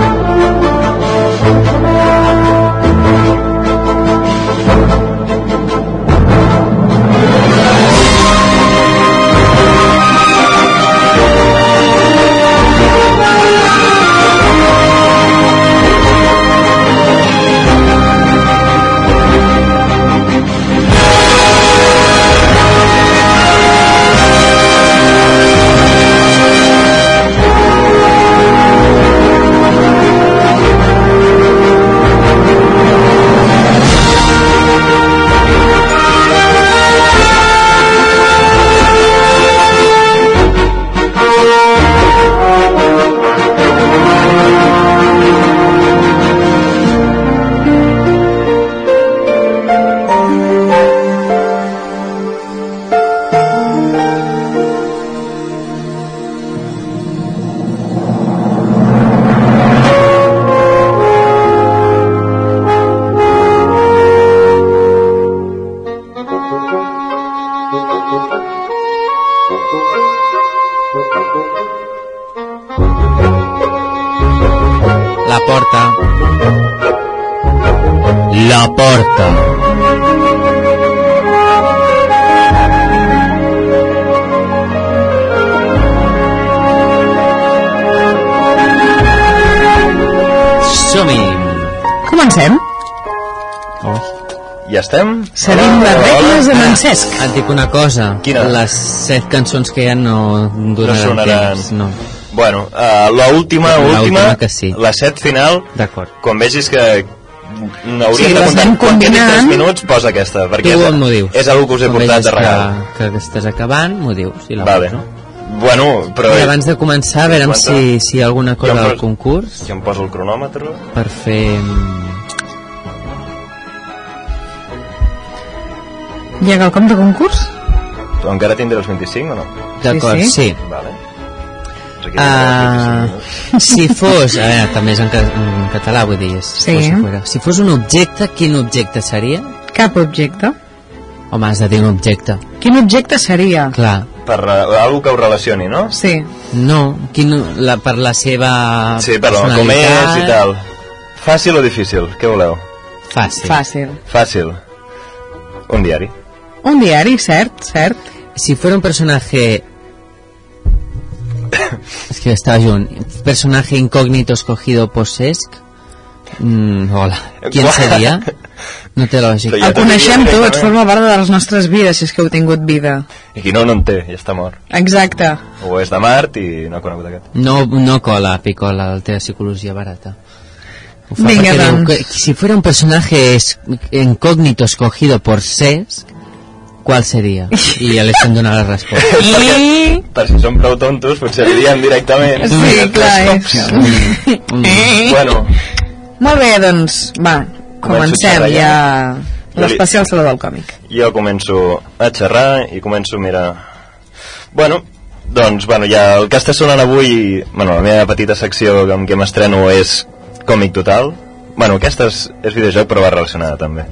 S3: La porta. La porta. Som-hi!
S1: Comencem.
S2: Ja estem? Oh.
S1: Seguim les regles amb en Cesc.
S3: Et dic una cosa.
S2: Quina?
S3: Les set cançons que hi ha no duraran
S2: sonaran.
S3: temps. No.
S2: Bueno, uh, la última, última,
S3: La última que sí.
S2: la set final,
S3: D'acord.
S2: quan vegis que n'hauríem
S1: Sí,
S2: de
S1: les
S2: comptar
S1: anem
S2: quan quedin
S1: combinant.
S2: 3 minuts, posa aquesta, perquè
S3: tu
S2: és,
S3: em ho dius.
S2: és algo que us he
S3: Quan
S2: portat
S3: vegis
S2: de regal.
S3: Que, que estàs acabant, m'ho dius. I la
S2: Va bé.
S3: poso.
S2: Bueno, però...
S3: I abans de començar, a veure
S2: Aguanta.
S3: si, si hi ha alguna cosa
S2: Jo em
S3: del
S2: poso-
S3: concurs
S2: Si em poso el cronòmetre...
S3: per fer... mm,
S1: Hi ha quelcom de concurs?
S2: Tu encara tindré els 25 o no?
S3: D'acord,
S1: sí.
S3: sí. sí.
S2: Vale. Doncs aquí tindré
S3: Ah,
S2: els 25 minuts.
S3: si fos... A veure, també és en, ca en català, vull dir... és-
S1: Sí.
S3: fos fora. Si fos un objecte, quin objecte seria?
S1: Cap objecte.
S3: Home, has de dir un objecte.
S1: Quin objecte seria?
S3: Clar.
S2: Per uh, algo que ho relacioni, no?
S1: Sí.
S3: No, quin, la, per la seva
S2: Sí, però com és
S3: personalitat.
S2: i tal. Fàcil o difícil? Què voleu?
S3: Fàcil.
S1: Fàcil.
S2: Fàcil. Un diari.
S1: Un diari, cert, cert.
S3: Si fuera un personaje... es que estaba yo... Un personaje incógnito escogido por Sesc... Mm, hola. ¿Quién
S2: Guau.
S3: sería? No te lo vas a
S2: Soy
S3: decir.
S2: Ja
S1: El
S2: t'ho
S1: coneixem
S2: diria eh?
S1: tots,
S2: directament.
S1: forma part de les nostres vides, si és que heu tingut vida.
S2: I qui no, no en té, ja està mort.
S1: Exacte.
S2: O és de Mart i no ha conegut aquest.
S3: No, no cola, picola, la teva psicologia barata. Ho fa
S1: Vinga,
S3: perquè diu
S1: doncs.
S3: que- si fuera un personaje es- incógnito escogido por Sesc, ¿cuál sería? Y ya les han donado la respuesta.
S1: I...
S2: Per si són prou tontos, potser li diem directament.
S1: Sí, clar, és. Eh?
S2: Bueno,
S1: Molt bé, doncs, va, comencem
S2: xerrar ja.
S1: ja
S2: Jo li-
S1: l'especial Saló del Còmic.
S2: jo començo a xerrar i començo, mira... Bueno, doncs, bueno, ja el que està sonant avui... Bueno, la meva petita secció amb què m'estreno és còmic total. Bueno, aquesta és, és videojoc, però va relacionada, també.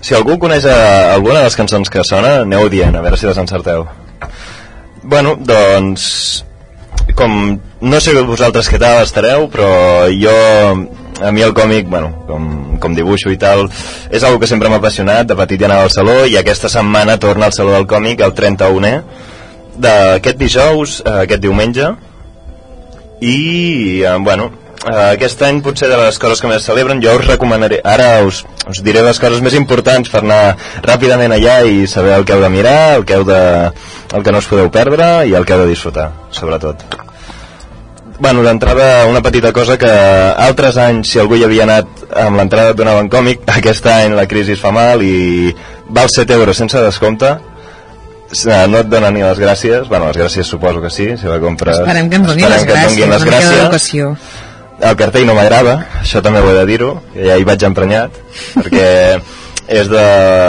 S2: Si algú coneix eh, alguna de les cançons que sona, aneu dient, a veure si les encerteu. Bueno, doncs... Com... No sé vosaltres què tal estareu, però jo... A mi el còmic, bueno, com, com dibuixo i tal, és algo que sempre m'ha apassionat. De petit ja anava al Saló i aquesta setmana torna al Saló del Còmic, el 31è, d'aquest dijous, eh, aquest diumenge. I, eh, bueno, eh, aquest any potser de les coses que més celebren, jo us recomanaré... Ara us, us diré les coses més importants per anar ràpidament allà i saber el que heu de mirar, el que, heu de, el que no us podeu perdre i el que heu de disfrutar, sobretot. Bueno, d'entrada, una petita cosa que altres anys, si algú hi havia anat amb l'entrada et donaven còmic, aquest any la crisi es fa mal i val 7 euros sense descompte, S- eh, no et donen ni les gràcies, bueno, les gràcies suposo que sí, si la compres...
S1: Esperem que ens donin les
S2: Esperem que et
S1: gràcies,
S2: donin
S1: una
S2: les
S1: mica
S2: gràcies.
S1: d'educació.
S2: El cartell no m'agrada, això també ho he de dir-ho, ja hi vaig emprenyat, perquè és de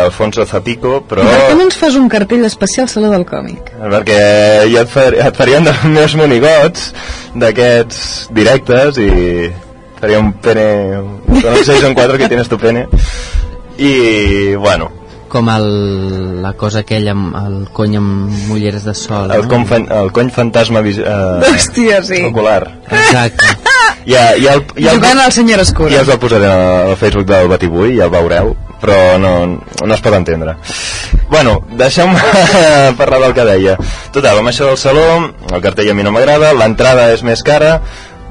S2: Alfonso Zapico, però...
S1: I per què no ens fas un cartell especial Saló del Còmic?
S2: perquè jo et, far, et faria un dels meus monigots d'aquests directes i faria un pene... No sé, són quatre que tienes tu pene. I, bueno,
S3: com el, la cosa aquella amb el cony amb ulleres de sol
S2: el,
S3: no?
S2: com fan, el cony fantasma vis, eh,
S1: Ah. Hòstia, sí.
S2: ocular.
S3: exacte
S2: Ja, ja el, ja el,
S1: Jugant al senyor Escura.
S2: Ja us el posaré al Facebook del Batibull, ja el veureu, però no, no es pot entendre. Bueno, deixem parlar del que deia. Total, amb això del saló, el cartell a mi no m'agrada, l'entrada és més cara,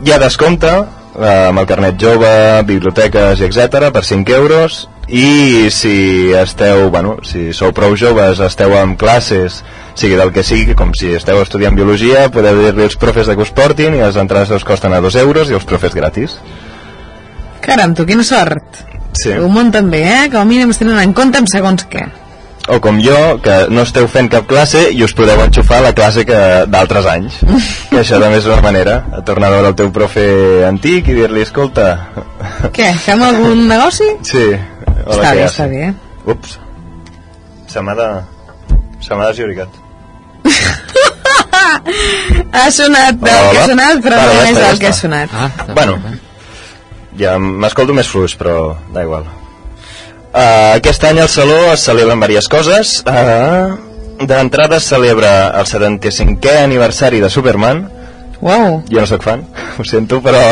S2: hi ha descompte, eh, amb el carnet jove, biblioteques i etc per 5 euros, i si esteu, bueno, si sou prou joves, esteu en classes, sigui del que sigui, com si esteu estudiant biologia, podeu dir-li als profes de que us portin i les entrades us costen a 2 euros i els profes gratis.
S1: Caram, tu, quina sort.
S2: Sí.
S1: Ho munten bé, eh? Com a mínim es tenen en compte amb segons què.
S2: o com jo, que no esteu fent cap classe i us podeu enxufar a la classe que d'altres anys. Que això també és una manera, de tornar a veure el teu profe antic i dir-li, escolta...
S1: Què, fem algun negoci?
S2: Sí, hola,
S1: està
S2: què
S1: bé,
S2: has?"
S1: està bé.
S2: Ups, se m'ha de... se m'ha desllorigat.
S1: Ha sonat del
S2: Hola.
S1: que ha sonat, però
S2: Vale,
S1: no
S2: ja
S1: és
S2: està, ja
S1: del que ha
S2: està.
S1: sonat.
S3: ah, està
S2: Bueno,
S3: bé.
S2: ja m'escolto més fluix, però da igual. Uh, aquest any al Saló es celebren diverses coses. Eh, Uh, D'entrada es celebra el 75è aniversari de Superman,
S1: Uau.
S2: Jo no sóc fan, ho sento, però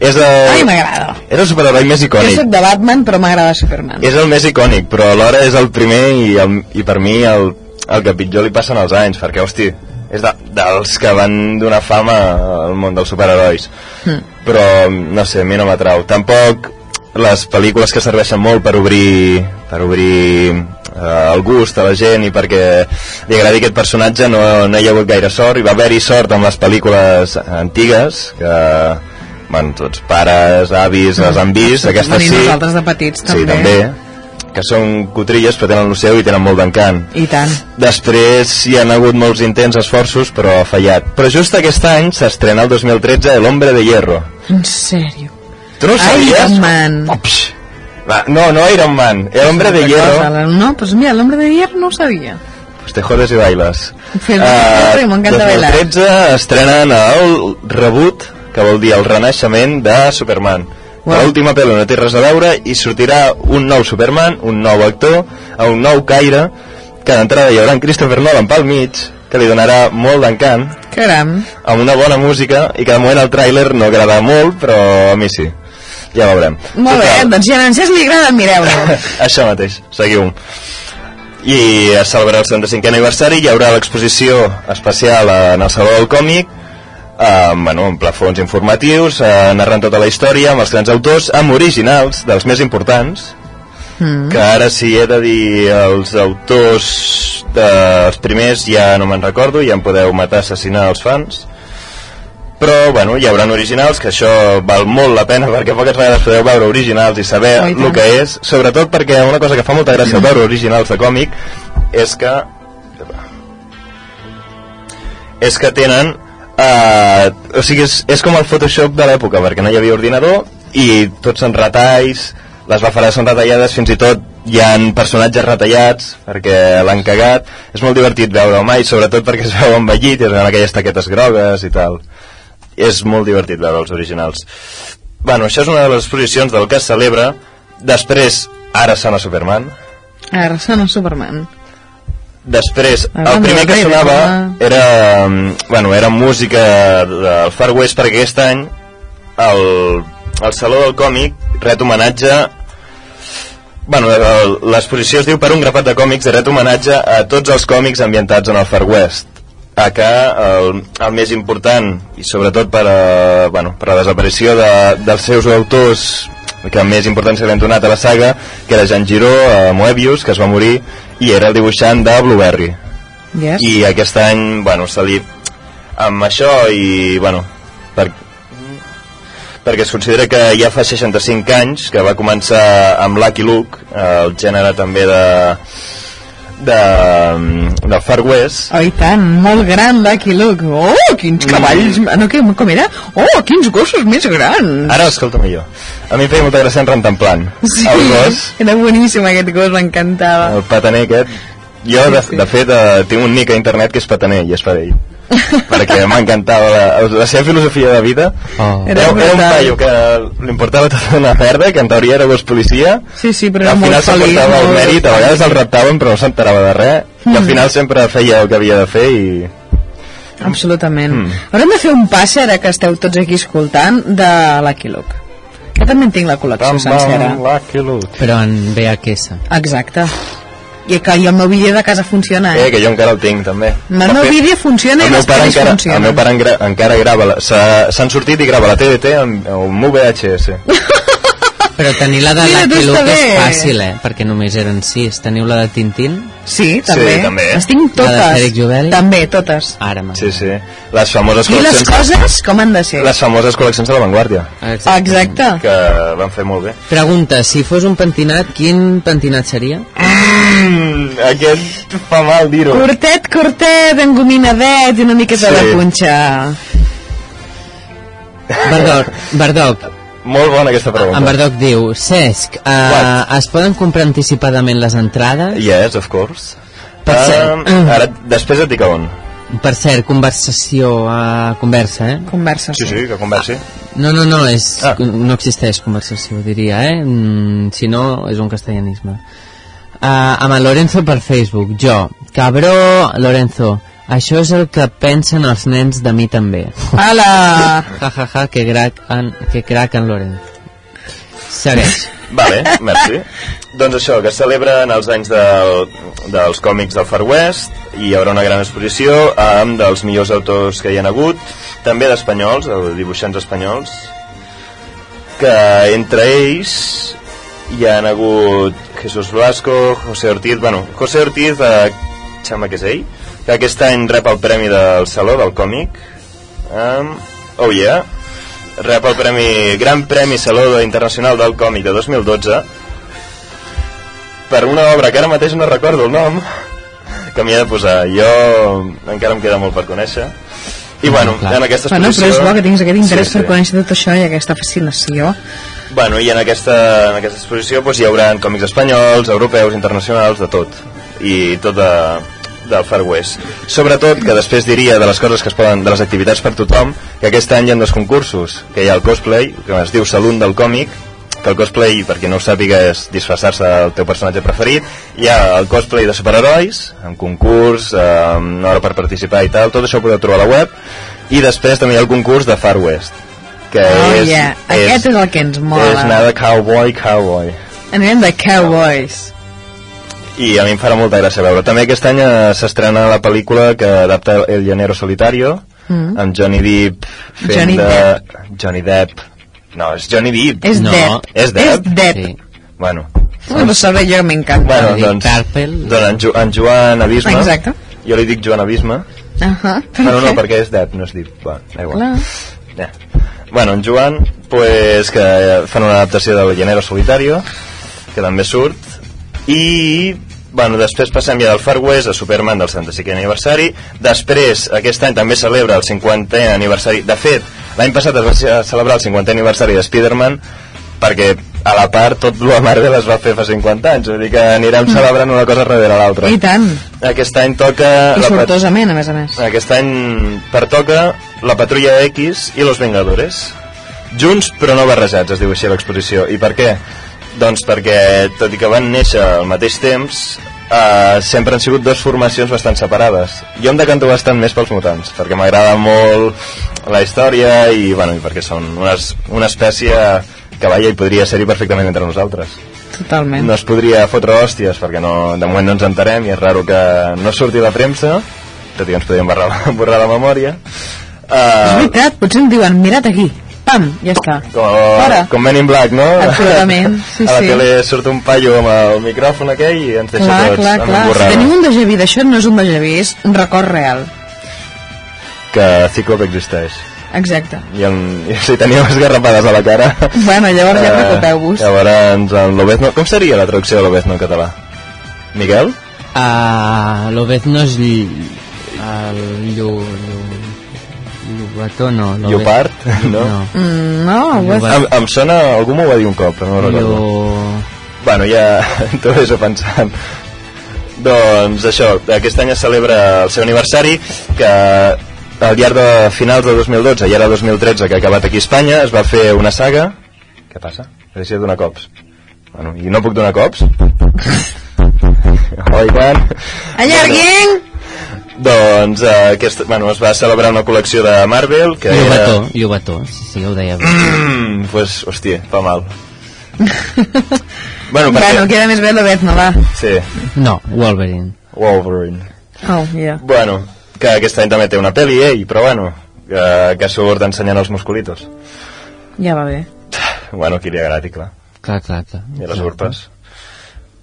S2: és
S1: Ai,
S2: el,
S1: m'agrada.
S2: és el superheroi més
S1: Jo
S2: icònic.
S1: soc de Batman, però m'agrada Superman.
S2: És el més icònic, però alhora és el primer i, el, i per mi el, el que pitjor li passen els anys, perquè, hosti, és de, dels que van donar fama al món dels superherois.
S1: Hmm.
S2: Mm. Però, no sé, a mi no m'atrau. Tampoc les pel·lícules que serveixen molt per obrir, per obrir eh, el gust a la gent i perquè li agradi aquest personatge no, no hi ha hagut gaire sort. Hi va haver-hi sort amb les pel·lícules antigues, que bueno, tots pares, avis, les han vist, aquestes
S1: Bueno, i
S2: sí.
S1: nosaltres de petits,
S2: Sí, també, que són cotrilles però tenen el seu i tenen molt d'encant.
S1: I tant.
S2: Després hi han hagut molts intents, esforços, però ha fallat. Però just aquest any s'estrena el 2013 El Hombre de Hierro.
S1: En sèrio.
S2: Tu no ho
S1: Ai,
S2: sabies?
S1: Iron Man.
S2: Ups. Va, no, no Iron Man, El Hombre de Hierro.
S1: No, pues mira, el hombre de hierro no ho sabia.
S2: Pues te jodes i bailes.
S1: Fes-
S2: Ah,
S1: fes- m'encanta bailar.
S2: 2013 estrenen el reboot, que vol dir el renaixement de Superman.
S1: Uau.
S2: Wow. L'última pel·lo no té res a veure i sortirà un nou Superman, un nou actor, a un nou caire, que d'entrada hi haurà en Christopher Nolan pel mig, que li donarà molt d'encant,
S1: Caram.
S2: amb una bona música, i que de moment el tràiler no agrada molt, però a mi sí. Ja veurem.
S1: Molt bé,
S2: Total,
S1: doncs si a en Francesc li agrada, mireu-lo.
S2: això mateix, seguiu i es celebrarà el 75è aniversari hi haurà l'exposició especial eh, en el Saló del Còmic eh, bueno, amb plafons informatius eh, narrant tota la història amb els grans autors amb originals dels més importants
S1: Mm-hmm.
S2: mm. que ara sí he de dir els autors dels primers ja no me'n recordo ja em podeu matar assassinar els fans però bueno, hi haurà originals que això val molt la pena perquè poques vegades podeu veure originals i saber
S1: Oh, i tant. Mm.
S2: el que és, sobretot perquè una cosa que fa molta gràcia veure originals de còmic és que és que tenen eh, o sigui, és, és com el Photoshop de l'època perquè no hi havia ordinador i tots són retalls les bafarades són retallades fins i tot hi han personatges retallats perquè l'han cagat és molt divertit veure home i sobretot perquè es veu envellit i es veuen aquelles taquetes grogues i tal és molt divertit veure els originals bueno, això és una de les exposicions del que es celebra després, ara sona Superman
S1: Ara sona Superman.
S2: Després,
S1: Ah,
S2: el primer
S1: mira,
S2: que
S1: mira.
S2: sonava era, mm, bueno, era música del Far West perquè aquest any el, el Saló del Còmic ret homenatge bueno, el- l'exposició es diu per un grapat de còmics ret homenatge a tots els còmics ambientats en el Far West a que el, el més important i sobretot per, a, bueno, per la desaparició de, dels seus autors que més importància li han donat a la saga que era Jean Giró, a Moebius que es va morir i era el dibuixant de Blueberry
S1: Yes.
S2: i aquest any, bueno, se li amb això i, bueno, per, perquè es considera que ja fa 65 anys que va començar amb Lucky Luke, eh, el gènere també de de, de Far West
S1: Oh, i tant, molt gran Lucky Luke. Oh, quins
S2: Mm.
S1: cavalls... No, que, com era? Oh, quins gossos més grans.
S2: ara escolta millor a mi em feia molta gràcia en Rantemplan el gos,
S1: era boníssim aquest gos, m'encantava.
S2: el pataner aquest jo de, de fet eh, tinc un nick a internet que és pataner i és per ell perquè m'encantava la, la seva filosofia de vida
S3: Oh.
S1: Era
S2: Era, era, un
S1: brutal.
S2: paio que li importava tota una merda, que en teoria era gos policia,
S1: Sí, sí, però
S2: que
S1: era
S2: al final
S1: molt feliç. Hmm.
S2: s'emportava el
S1: molt-
S2: mèrit, a vegades el reptaven però no s'enterava de res, i al final sempre feia el que havia de fer i...
S1: Absolutament.
S2: Mm.
S1: Haurem de fer un passe, ara que esteu tots aquí escoltant, de Lucky Luke. Jo també en tinc la col·lecció sencera.
S2: Lucky Luke.
S3: Però en VHS.
S1: Exacte. I que i el meu vídeo de casa funciona,
S2: Eh,
S1: eh?
S2: que jo encara el tinc, també.
S1: El meu vídeo funciona i
S2: el meu
S1: les
S2: pare
S1: pel·lis
S2: encara,
S1: funcionen.
S2: el meu pare engra, encara grava la- s'ha- s'han sortit i grava la TDT amb, amb VHS
S3: Però tenir la de
S1: Mira, tu
S3: Lucky
S1: està
S3: Luke
S1: bé.
S3: és fàcil, eh? Perquè només eren sis. Teniu la de Tintín?
S1: Sí, també.
S2: també.
S1: Les tinc totes.
S3: La de Fèlix Joveli?
S1: També, totes.
S3: Ara, m'agrada.
S2: sí, sí, les famoses
S1: I les
S2: col·leccions
S1: coses com han de ser.
S2: les famoses col·leccions de l'avantguàrdia
S1: Exacte.
S2: que van fer molt bé
S1: Ah.
S3: Pregunta, si fos un pentinat, quin pentinat seria?
S2: mm, aquest fa mal dir-ho
S1: Curtet, curtet, engominadet i una miqueta
S2: Sí.
S1: de punxa.
S3: Bardoc, Bardoc,
S2: Molt bona aquesta pregunta.
S3: en Bardoc diu, Cesc, eh,
S2: What?
S3: es poden comprar anticipadament les entrades?
S2: Yes, of course.
S3: Per
S2: Um,
S3: cert. Mm.
S2: ara, després et dic a on.
S3: Per cert, conversació, eh, conversa, eh?
S1: Conversa.
S2: Sí, sí, que conversi.
S3: No, no, no, és,
S2: Ah.
S3: no existeix conversació, diria, eh? Mm, si no, és un Eh, castellanisme. Uh, amb el Lorenzo per Facebook. Jo, cabró, Lorenzo, Això és el que pensen els nens de mi també.
S1: Ah. Ala!
S3: Ja, ja, ja, que crac en, que crac en Loren. Segueix.
S2: Vale, merci. doncs això, que es celebren els anys del, dels còmics del Far West i hi haurà una gran exposició amb dels millors autors que hi han hagut, també d'espanyols, de dibuixants espanyols, que entre ells hi han hagut Jesús Blasco, José Ortiz, bueno, José Ortiz, eh, xama que és ell, que aquest any rep el premi del Saló del Còmic, um, oh yeah, rep el premi, Gran Premi Saló de- Internacional del Còmic de 2012 per una obra que ara mateix no recordo el nom que m'hi he de posar jo encara em queda molt per conèixer i bueno,
S3: clar.
S2: en aquesta exposició
S1: Mm, Bueno, però és bo que tinguis aquest interès
S2: Sí,
S1: per
S2: sí.
S1: conèixer tot això i aquesta fascinació.
S2: Bueno, i en aquesta, en aquesta exposició doncs, hi haurà còmics espanyols, europeus, internacionals, de tot. I tot de, del Far West. Sobretot, que després diria de les coses que es poden, de les activitats per tothom, que aquest any hi ha dos concursos, que hi ha el cosplay, que es diu Salun del còmic, que el cosplay, per qui no ho sàpiga, és disfressar-se del teu personatge preferit. Hi ha el cosplay de superherois, amb concurs, amb una hora per participar i tal, tot això ho podeu trobar a la web. I després també hi ha el concurs de Far West, que
S1: Oh,
S2: és,
S1: yeah. Aquest és el que ens mola.
S2: és anar de cowboy, cowboy.
S1: Anirem de Cowboys.
S2: I a mi em farà molta gràcia veure. També aquest any eh, s'estrena la pel·lícula que adapta El llanero solitario,
S1: Mm.
S2: amb Johnny Depp fent
S1: Johnny
S2: de... Johnny Depp. No, és Johnny Depp.
S1: És
S3: No,
S1: Depp.
S2: és Depp.
S1: És Depp.
S3: Sí.
S2: Bueno,
S1: Una persona jo que m'encanta.
S2: bueno
S3: Johnny
S2: doncs,
S3: Carpel.
S2: doncs en, jo, en Joan Abisme.
S1: Exacte.
S2: Jo li dic Joan Abisme.
S1: Ahà.
S2: Bueno, no, perquè és Depp, no és Depp. Va, da igual.
S1: Clar.
S2: Ja. Bueno, en Joan, pues, que fan una adaptació del Llanero Solitario, que també surt, i bueno, després passem ja del Far West a Superman del 75è aniversari després aquest any també celebra el 50è aniversari de fet l'any passat es va ce- celebrar el 50è aniversari de Spider-Man perquè a la part tot lo Marvel es va fer fa 50 anys vull dir que anirem celebrant una cosa darrere l'altra
S1: Mm. I tant.
S2: aquest any toca
S1: I
S2: la pat-
S1: sortosament, a més a més.
S2: aquest any pertoca La Patrulla X i Los Vengadores. Junts però no barrejats, es diu així l'exposició. I per què? Doncs perquè, tot i que van néixer al mateix temps, eh, sempre han sigut dues formacions bastant separades. Jo em decanto bastant més pels mutants, perquè m'agrada molt la història i, bueno, i perquè són una, una espècie que, vaja, hi podria ser-hi perfectament entre nosaltres
S1: Totalment.
S2: no es podria fotre hòsties perquè no, de moment no ens enterem i és raro que no surti la premsa tot i que ens podríem borrar, la- borrar la memòria
S1: És
S2: uh,
S1: veritat, potser em diuen, mira't aquí. Pam, ja està.
S2: com,
S1: Ara.
S2: com Men in Black, no?
S1: Absolutament, sí,
S2: a la
S1: sí.
S2: tele surt un paio amb el micròfon aquell i ens deixa
S1: Clar,
S2: tots
S1: clar,
S2: amb
S1: clar.
S2: un
S1: Si
S2: borrado
S1: tenim un déjà vu d'això, no és un déjà vu, és un record real.
S2: que Ciclop existeix
S1: Exacte.
S2: i, en, i si teniu esgarrapades a la cara
S1: Bueno, llavors ja
S2: eh,
S1: preocupeu-vos.
S2: llavors en Lobezno com seria la traducció de Lobezno en català? Miguel?
S3: Ah, Lobezno és lli- el llu... llu... Llobató, no. Lobez-
S2: Llopart? No?
S3: no.
S1: Mm, no, ho has...
S3: Bueno.
S2: Em, em sona, algú m'ho va dir un cop però no ho recordo
S3: Llo...
S2: Bueno, ja t'ho vés a pensar. Doncs això, aquest any es celebra el seu aniversari, que al llarg de finals de 2012 i ara 2013, que ha acabat aquí a Espanya, es va fer una saga... Què passa? Deixa de donar cops. Bueno, i no puc donar cops? Oi, Juan?
S1: Allarguin!
S2: Doncs eh, aquest, bueno, es va celebrar una col·lecció de Marvel, que era...
S3: Llobató, Llobató, sí, sí, ja ho deia. bé.
S2: Mm, pues, hòstia, fa mal. bueno, perquè...
S1: Bueno, queda més bé l'Obezno, va.
S2: Sí,
S3: No, Wolverine.
S2: Wolverine.
S1: Oh, yeah.
S2: Bueno, que aquest any també té una pel·li, ell, però bueno, que, que surt ensenyant els musculitos.
S1: Ja va bé.
S2: Bueno, qui li agradi, clar,
S3: Clar, clar, clar.
S2: i les urpes.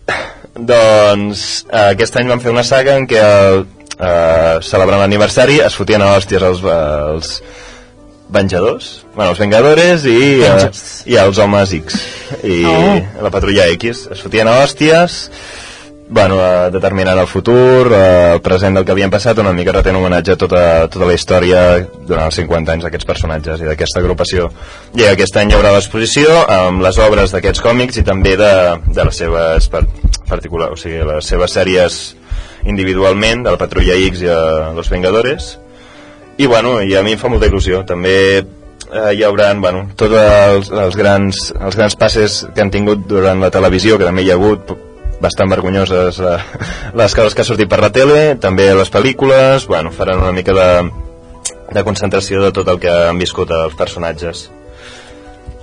S2: doncs eh, aquest any van fer una saga en què eh, celebrant l'aniversari es fotien a hòsties els, els venjadors, bueno, els vengadores i, eh,
S3: Vengers.
S2: i els homes X i
S1: Oh.
S2: la patrulla X es fotien a hòsties bueno, eh, determinant el futur, eh, el present del que havien passat, una mica retent homenatge a tota, tota la història durant els 50 anys d'aquests personatges i d'aquesta agrupació. I aquest any hi haurà l'exposició amb les obres d'aquests còmics i també de, de les seves par particular, o sigui, les seves sèries individualment, de la Patrulla X i de Los Vengadores. I bueno, i a mi em fa molta il·lusió. També eh, hi haurà, bueno, tots els, els, grans, els grans passes que han tingut durant la televisió, que també hi ha hagut, bastant vergonyoses eh, les coses que ha sortit per la tele, també les pel·lícules, bueno, faran una mica de, de concentració de tot el que han viscut els personatges.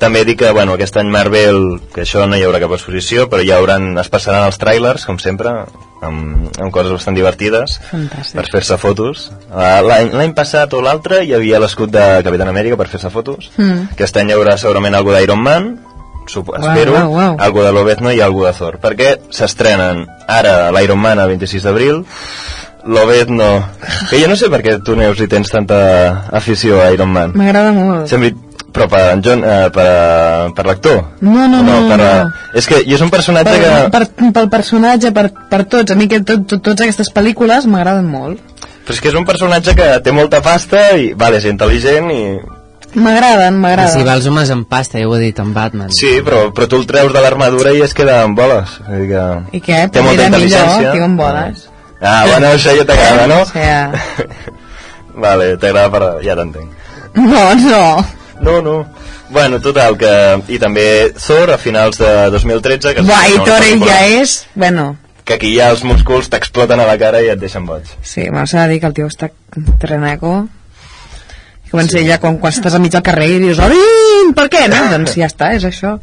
S2: També dic que bueno, aquest any Marvel, que això no hi haurà cap exposició, però hi hauran, es passaran els trailers, com sempre, amb, amb coses bastant divertides
S1: Fantàstic.
S2: per fer-se fotos. Eh, L'any l'any passat o l'altre hi havia l'escut de Capitán Amèrica per fer-se fotos.
S1: Mm.
S2: Aquest any hi haurà segurament algú d'Iron Man, supo,
S1: Uau,
S2: espero,
S1: uau, uau.
S2: algú de Lobezno i algú de Thor, perquè s'estrenen ara l'Iron Man el 26 d'abril, Lobezno, que jo no sé per què tu, Neus, hi tens tanta afició a Iron Man.
S1: M'agrada molt.
S2: Sembli... Però per, en John, eh, per, per l'actor?
S1: No, no, no,
S2: per,
S1: no.
S2: És que i és un personatge
S1: Per,
S2: que...
S1: per, pel personatge, per, per tots. A mi que tot, tot, totes aquestes pel·lícules m'agraden molt.
S2: Però és que és un personatge que té molta pasta i, vale, és intel·ligent i...
S1: M'agraden,
S3: I si
S1: m'agraden.
S3: va els homes en pasta, ja ho he dit en Batman.
S2: Sí, però, però tu el treus de l'armadura i es queda amb boles. Vull dir que...
S1: I què?
S2: Té molta
S1: Era millor,
S2: intel·ligència.
S1: tio, amb boles.
S2: Ah, bueno, això ja t'agrada, no?
S1: O sea,
S2: Vale, t'agrada per... Ja t'entenc.
S1: no, no.
S2: No, no. Bueno, total, que... I també Thor a finals de 2013... Que es
S1: Buah,
S2: va
S1: i
S2: estrenar una
S1: Thor ell
S2: pel·lícula
S1: ja és... Bueno,
S2: Que aquí ja els músculs t'exploten a la cara i et deixen boig.
S1: sí, bueno, s'ha de dir que el tio està trenaco. Que quan sí. ja, quan, quan estàs a mig del carrer i dius, "Ai, per què? No? Doncs ja està, és això.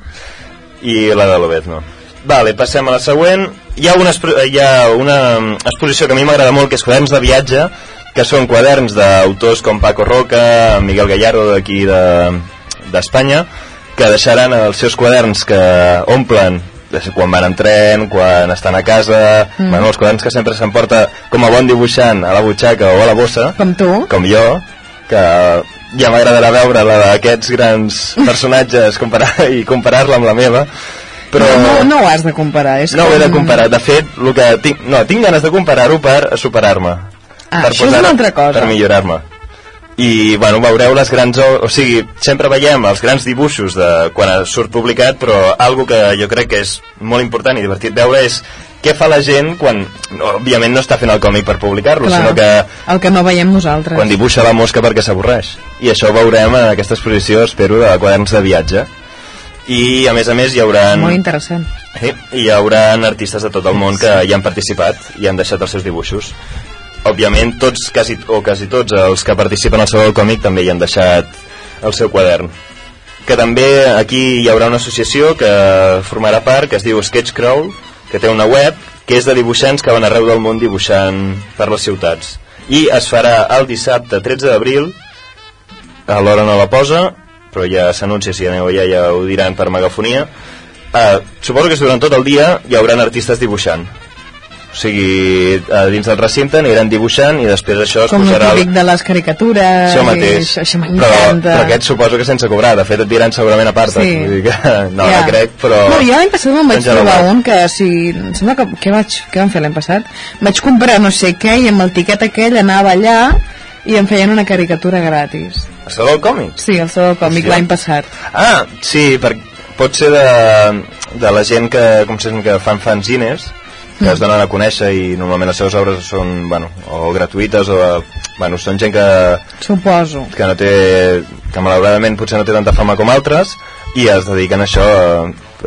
S2: i la de Lobezno. Vale, passem a la següent. Hi ha una, expro- hi ha una mm, exposició que a mi m'agrada molt, que és quaderns de viatge, que són quaderns d'autors com Paco Roca, Miguel Gallardo d'aquí de- d'Espanya, de, que deixaran els seus quaderns que omplen ja sé, quan van en tren, quan estan a casa, mm. bueno, els quaderns que sempre s'emporta com a bon dibuixant a la butxaca o a la bossa
S1: Com tu.
S2: com jo, que ja m'agradarà veure la d'aquests grans personatges comparar i comparar-la amb la meva, però
S1: No, no, no ho has de comparar. És
S2: no ho he de
S1: com-
S2: comparar. De fet, el que tinc, no, tinc ganes de comparar-ho per superar-me.
S1: Ah,
S2: per
S1: això és una
S2: posar-
S1: altra cosa.
S2: Per millorar-me. I, bueno, veureu les grans... o- O sigui, sempre veiem els grans dibuixos de quan surt publicat, però algo que jo crec que és molt important i divertit veure és què fa la gent quan, no, òbviament, no està fent el còmic per publicar-lo,
S1: Clar,
S2: sinó que
S1: El que no veiem nosaltres.
S2: quan dibuixa la mosca perquè s'avorreix. I això ho veurem en aquesta exposició, espero, de quaderns de viatge. I, a més a més, hi haurà...
S1: Molt interessant.
S2: Sí, hi haurà artistes de tot el món que hi han participat i han deixat els seus dibuixos. Òbviament, tots, quasi, o quasi tots els que participen al Saló del Còmic també hi han deixat el seu quadern. Que també aquí hi haurà una associació que formarà part, que es diu Sketchcrawl, que té una web, que és de dibuixants que van arreu del món dibuixant per les ciutats. I es farà el dissabte 13 d'abril, a l'hora no la posa, però ja s'anuncia, si aneu allà ja ho diran per megafonia, Uh, suposo que durant tot el dia hi haurà artistes dibuixant. O sigui, a dins del recinte aniran dibuixant i després això es
S1: Com el
S2: posarà... al-
S1: típic de les caricatures.
S2: Això mateix.
S1: i Això
S2: però,
S1: m'encanta.
S2: però aquest suposo que sense cobrar. De fet, et diran segurament a part.
S1: Sí.
S2: Vull dir que, no, yeah. no crec, però...
S1: No, jo l'any passat me'n vaig
S2: Doncs ja
S1: trobar
S2: veuràs.
S1: un que, si... Em sembla que... Què, vaig, què vam fer l'any passat? Vaig comprar no sé què i amb el tiquet aquell anava allà i em feien una caricatura gratis.
S2: Això del còmic.
S1: Sí, el seu còmic
S2: Hòstia.
S1: l'any passat.
S2: Ah, sí, per, pot ser de, de la gent que, com se diu, que fan fanzines, que
S1: Mm.
S2: es donen a conèixer i normalment les seves obres són, bueno, o gratuïtes o... Bueno, són gent que
S1: Suposo.
S2: que no té, que malauradament potser no té tanta fama com altres i es dediquen a això a,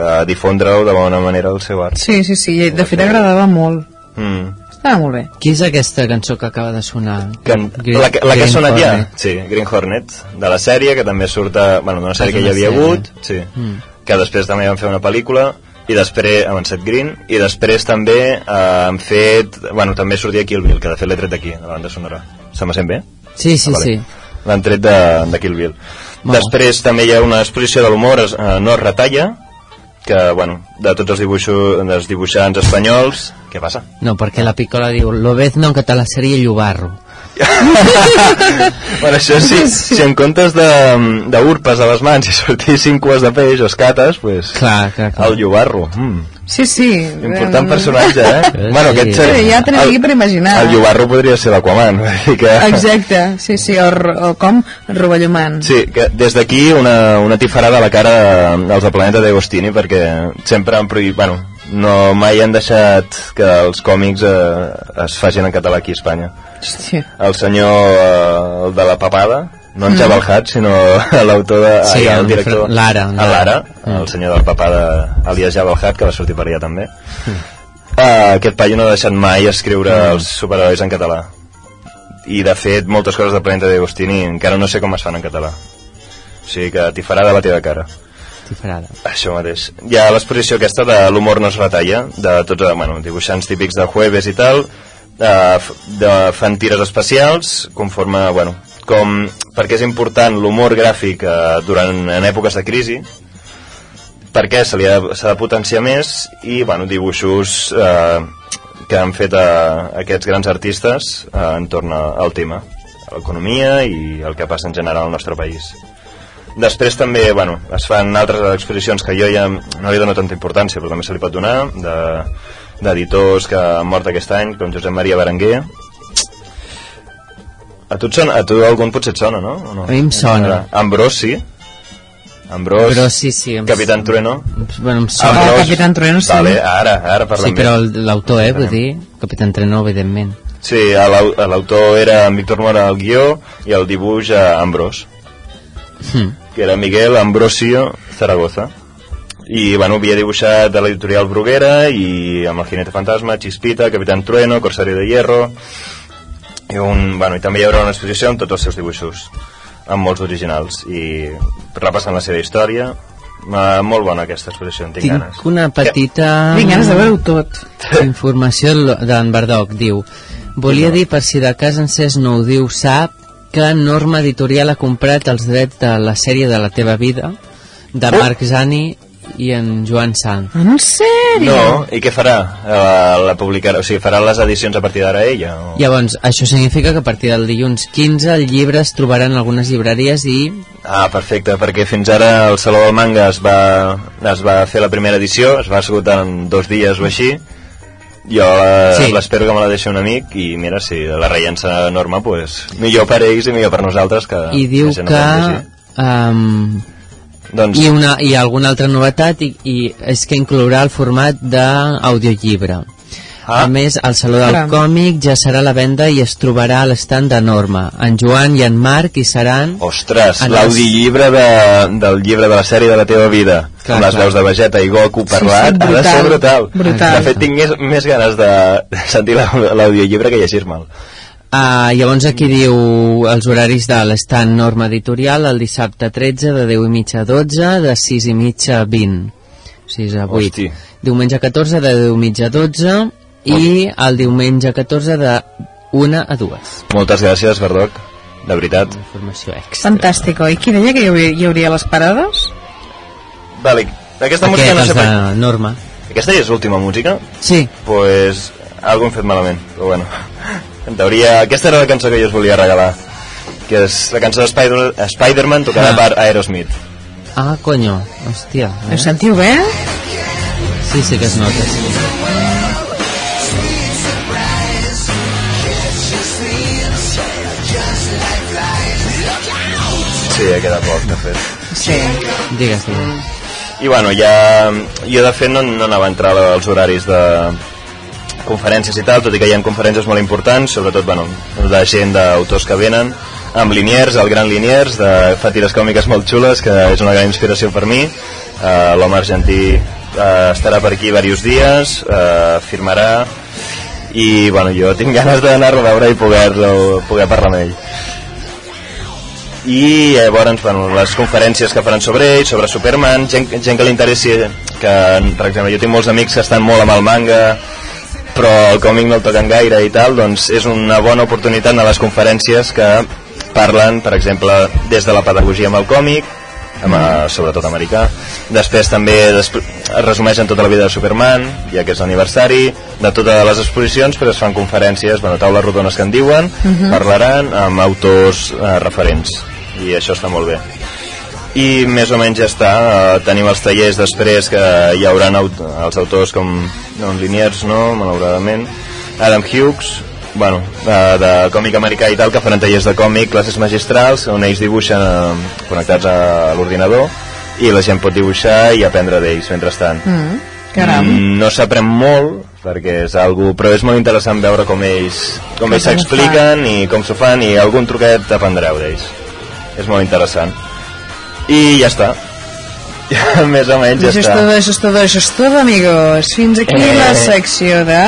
S2: a difondre-ho de bona manera el seu art
S1: Sí, sí, sí. i De fet, agradava molt.
S2: mm.
S1: Estava molt bé.
S3: Qui és aquesta cançó que acaba de sonar?
S2: que,
S3: Green-
S2: la, que- la que
S3: Green
S2: ha sonat ja
S3: Hornet.
S2: sí, Green Hornet, de la sèrie que també surt a, bueno, d'una sèrie que hi
S3: una
S2: havia
S3: sèrie.
S2: hagut sí, mm. que després també van fer una pel·lícula i després amb en Seth Green i després també eh, han fet bueno, també sortia Kill Bill, que de fet l'he tret d'aquí de la banda sonora, se me sent bé?
S3: Sí, sí,
S2: Ah, vale.
S3: sí.
S2: L'han tret de, de Kill Bill.
S3: Molt
S2: Després també hi ha una exposició de l'humor, es- eh, no es retalla, que, bueno, de tots els, dibuixos, dels dibuixants espanyols... Què passa?
S3: No, perquè la Picola diu Lobezno en català seria Llobarro.
S2: bueno, això sí, si en comptes de- d'urpes a les mans i sortissin cues de peix o escates, pues,
S3: Clar, clar, clar.
S2: el llobarro. Mm.
S1: Sí, sí.
S2: Important
S1: Eh,
S2: personatge, eh?
S3: Sí.
S2: bueno, aquest ser,
S1: Sí, ja tenim aquí per imaginar.
S2: El llobarro podria ser l'Aquaman. vull dir Que...
S1: Exacte, sí, sí, o, r- o com Rovellomans.
S2: Sí, que des d'aquí una, una tifarada a la cara dels de Planeta d'Agostini perquè sempre han prohibit... Bueno, no mai han deixat que els còmics eh, es facin en català aquí a Espanya.
S1: Hòstia.
S2: El senyor eh, el de la papada, no en Jabal Hat, sinó l'autor de...
S3: Mm. Sí,
S2: ai,
S3: en
S2: el director.
S3: Fra- l'Ara, Mm. en
S2: El Lara,
S3: Lara.
S2: el senyor de la papada, alias Jabal Hat, que va sortir per allà també.
S3: Mm.
S2: eh, aquest paio no ha deixat mai escriure els superherois en català. I, de fet, moltes coses del Planeta d'Agostini encara no sé com es fan en català. O sigui que t'hi farà de la teva cara.
S3: Tifarada.
S2: Això mateix. Hi ha l'exposició aquesta de l'humor no es retalla, de tots eh, bueno, dibuixants típics de Jueves i tal, eh, f- de, fan tires especials, conforme, bueno, com, perquè és important l'humor gràfic eh, durant, en èpoques de crisi, perquè se li ha, s'ha de potenciar més i, bueno, dibuixos eh, que han fet eh, aquests grans artistes eh, entorn a- al tema, a l'economia i el que passa en general al nostre país. Després també, bueno, es fan altres exposicions que jo ja no li dono tanta importància, però també se li pot donar, de- d'editors que han mort aquest any, com Josep Maria Berenguer. A tu, et sona, a tu algun potser et sona, no? O no?
S3: A mi em sona.
S2: Ambrós, sí. Ambrós,
S3: Però sí, sí. Em...
S2: Capitán Trueno.
S3: Bueno, em
S1: Ah,
S3: sona.
S2: Ambrós.
S1: Capitán Trueno, sí.
S2: Vale, ara, ara parlem
S3: sí, però el- l'autor, eh, vull dir, Capitán Trenó, evidentment.
S2: Sí, a l'au- a l'autor era en Víctor Mora el guió i el dibuix a Ambrós,
S3: Hm.
S2: que era Miguel Ambrosio Zaragoza. I, bueno, havia dibuixat a l'editorial Bruguera i amb el Jinete Fantasma, Chispita, Capitán Trueno, Corsario de Hierro... I, un, bueno, i també hi haurà una exposició amb tots els seus dibuixos, amb molts originals, i repassant la seva història. Uh, molt bona aquesta exposició, en tinc, ganes.
S3: Tinc una petita... mm,
S1: Vinc, ganes de veure-ho tot.
S3: Informació del- d'en Bardoc, diu Volia dir, per si de cas en Cesc no ho diu, sap que Norma Editorial ha comprat els drets de la sèrie de la teva vida de Marc Zani i en Joan Sanz.
S1: En sèrio?
S2: No, i què farà? Uh, la publicarà, o sigui, farà les edicions a partir d'ara ella? O...
S3: Llavors, això significa que a partir del dilluns 15 el llibre es trobarà en algunes llibreries i...
S2: Ah, perfecte, perquè fins ara el Saló del Manga es va, es va fer la primera edició, es va esgotar en dos dies o així, jo la-
S3: Sí.
S2: l'espero que me la deixi un amic i mira, si la rellença Norma, pues, millor per ells i millor per nosaltres que
S3: I diu
S2: la gent Ah, no pot
S3: que...
S2: llegir.
S3: Um,
S2: doncs,
S3: i, una, i alguna altra novetat i, i és que inclourà el format d'audiollibre
S2: Ah.
S3: ah. a més el Saló del
S1: Caram.
S3: Còmic ja serà a la venda i es trobarà a l'estand de Norma en Joan i en Marc hi seran
S2: Oh. Ostres,
S3: en
S2: l'audiollibre de, del llibre de la sèrie de la teva vida clar,
S3: Clar,
S2: amb les
S3: clar.
S2: veus de Vegeta i Goku parlat ha de ser
S1: brutal,
S2: brutal,
S1: brutal.
S2: de fet tinc més, més ganes de sentir l'au- l'audiollibre que llegir-me'l
S3: Uh, llavors aquí diu els horaris de l'estand Norma Editorial el dissabte 13 de 10 i mitja a 12 de 6 i mitja a 20 6 a 8
S2: Hosti.
S3: diumenge 14 de 10 i mitja a 12 i el diumenge 14 de 1 a 2
S2: moltes gràcies Bardoc, de veritat
S3: informació extra
S1: Fantàstic, oi? Qui deia que hi hauria, hi hauria les parades?
S2: Vale, aquesta música
S3: Aquest,
S2: no sé
S3: els de
S2: per...
S3: Norma.
S2: Aquesta ja és l'última música?
S3: Sí,
S2: Pues... Algo hem fet malament, però bueno. En teoria, aquesta era la cançó que jo us volia regalar, que és la cançó de Spider- Spider-Man tocada
S3: Ah.
S2: per Aerosmith.
S3: ah, conyo, hòstia.
S1: Ho
S3: Eh?
S1: sentiu bé?
S3: Sí, sí que es nota. sí.
S2: Sí, ja queda poc, de fet.
S1: Sí.
S3: Digues, digues.
S2: I bueno, ja... Jo de fet no, no anava a entrar als horaris de conferències i tal, tot i que hi ha conferències molt importants, sobretot, bueno, de gent d'autors que venen, amb Liniers, el gran Liniers, de, fa tires còmiques molt xules, que és una gran inspiració per mi. Uh, L'home argentí uh, estarà per aquí diversos dies, uh, firmarà, i bueno, jo tinc ganes d'anar-lo a veure i poder, poder parlar amb ell i eh, llavors bueno, les conferències que faran sobre ell, sobre Superman gent, gent que li interessi que, per exemple, jo tinc molts amics que estan molt amb el manga però el còmic no el toquen gaire i tal, doncs és una bona oportunitat anar a les conferències que parlen, per exemple, des de la pedagogia amb el còmic amb, eh, sobretot americà després també despre- es resumeixen tota la vida de Superman ja que és l'aniversari de totes les exposicions però es fan conferències, bueno, taules rodones que en diuen parlaran amb autors eh, referents i això està molt bé i més o menys ja està eh, tenim els tallers després que hi haurà aut els autors com non Liniers no, malauradament Adam Hughes bueno, eh, de còmic americà i tal que faran tallers de còmic, classes magistrals on ells dibuixen eh, connectats a l'ordinador i la gent pot dibuixar i aprendre d'ells mentrestant mm.
S1: Caram. Mm.
S2: Mm, No s'aprèn molt, perquè és algo, però és molt interessant veure com ells com ells
S1: Com ho
S2: s'expliquen i com s'ho fan i algun truquet aprendreu d'ells. És molt interessant. I ja està. Més o menys ja
S1: Això és
S2: està.
S1: tot, això és tot, això és tot, amigos. Fins aquí
S2: Eh.
S1: la secció de...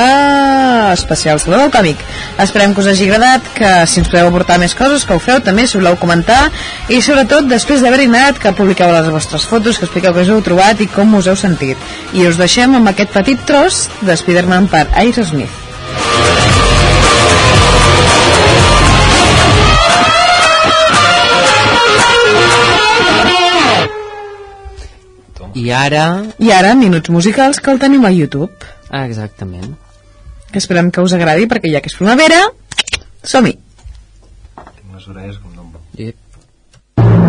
S1: especial Salvador del Còmic. Esperem que us hagi agradat, que si ens podeu aportar més coses, que ho feu també, si voleu comentar, i sobretot, després d'haver-hi anat, que publiqueu les vostres fotos, que expliqueu què us heu trobat i com us heu sentit. I us deixem amb aquest petit tros de Spider-Man per Aerosmith.
S3: I ara...
S1: I ara, minuts musicals que el tenim a YouTube,
S3: Ah, exactament.
S1: que esperem que us agradi, perquè ja que és primavera, som-hi!
S3: Yep.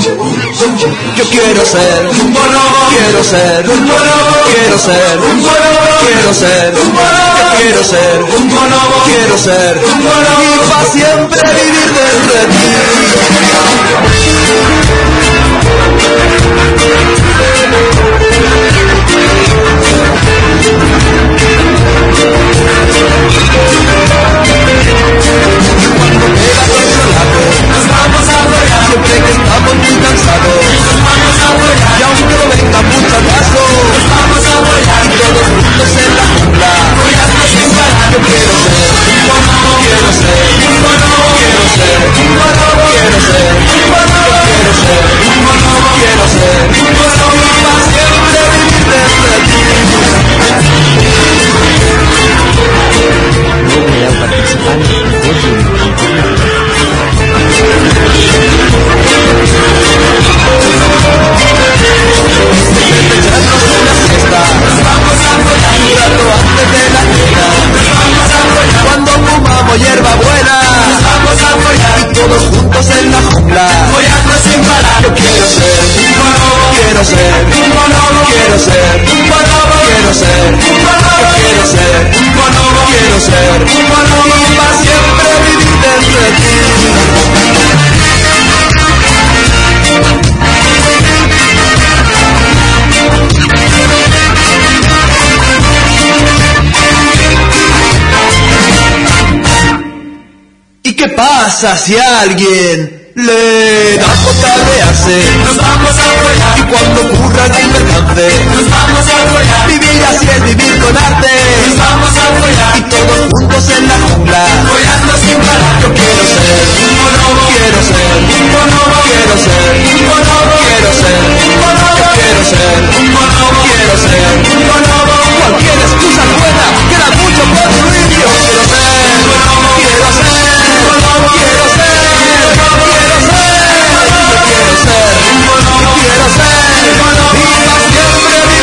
S5: Yo quiero ser un quiero ser un quiero ser un quiero ser un quiero ser un quiero ser un y para siempre vivir desde ti. siempre que estamos muy cansados. Y aunque no venga mucho atraso, vamos a volar todos juntos en la jungla. Yo quiero ser un mono, quiero ser un mono, quiero ser un mono, quiero ser un mono, quiero ser un mono, quiero ser un mono, y para siempre vivir desde ti.
S3: No voleu participar en el concurs Unicorn.
S5: Cuando fumamos hierba buena, vamos a follar y todos juntos en la jungla. Follando sin parar. Yo quiero ser un bonobo, quiero ser un bonobo, quiero ser un bonobo, quiero ser un bonobo, quiero ser un bonobo, quiero ser un bonobo y para siempre vivir desde ti. ¿Y qué pasa si alguien le da por cabrearse? Nos vamos a volar. Y cuando ocurra que alcance, nos vamos a volar. Vivir así es vivir con arte. Nos vamos a volar. Y todos juntos en la jungla. Volando sin parar. Yo quiero ser un bonobo. Quiero ser un bonobo. Quiero ser un bonobo. Quiero ser un bonobo. Yo quiero ser un bonobo. Quiero ser un bonobo. Cualquier excusa es buena. Queda mucho por fluir. Yo quiero ser un bonobo. Quiero ser un bonobo. Quiero ser un bonobo. Quiero ser. Yo quiero ser un bonobo. Quiero ser un bonobo. Y para siempre vivir dentro de mí.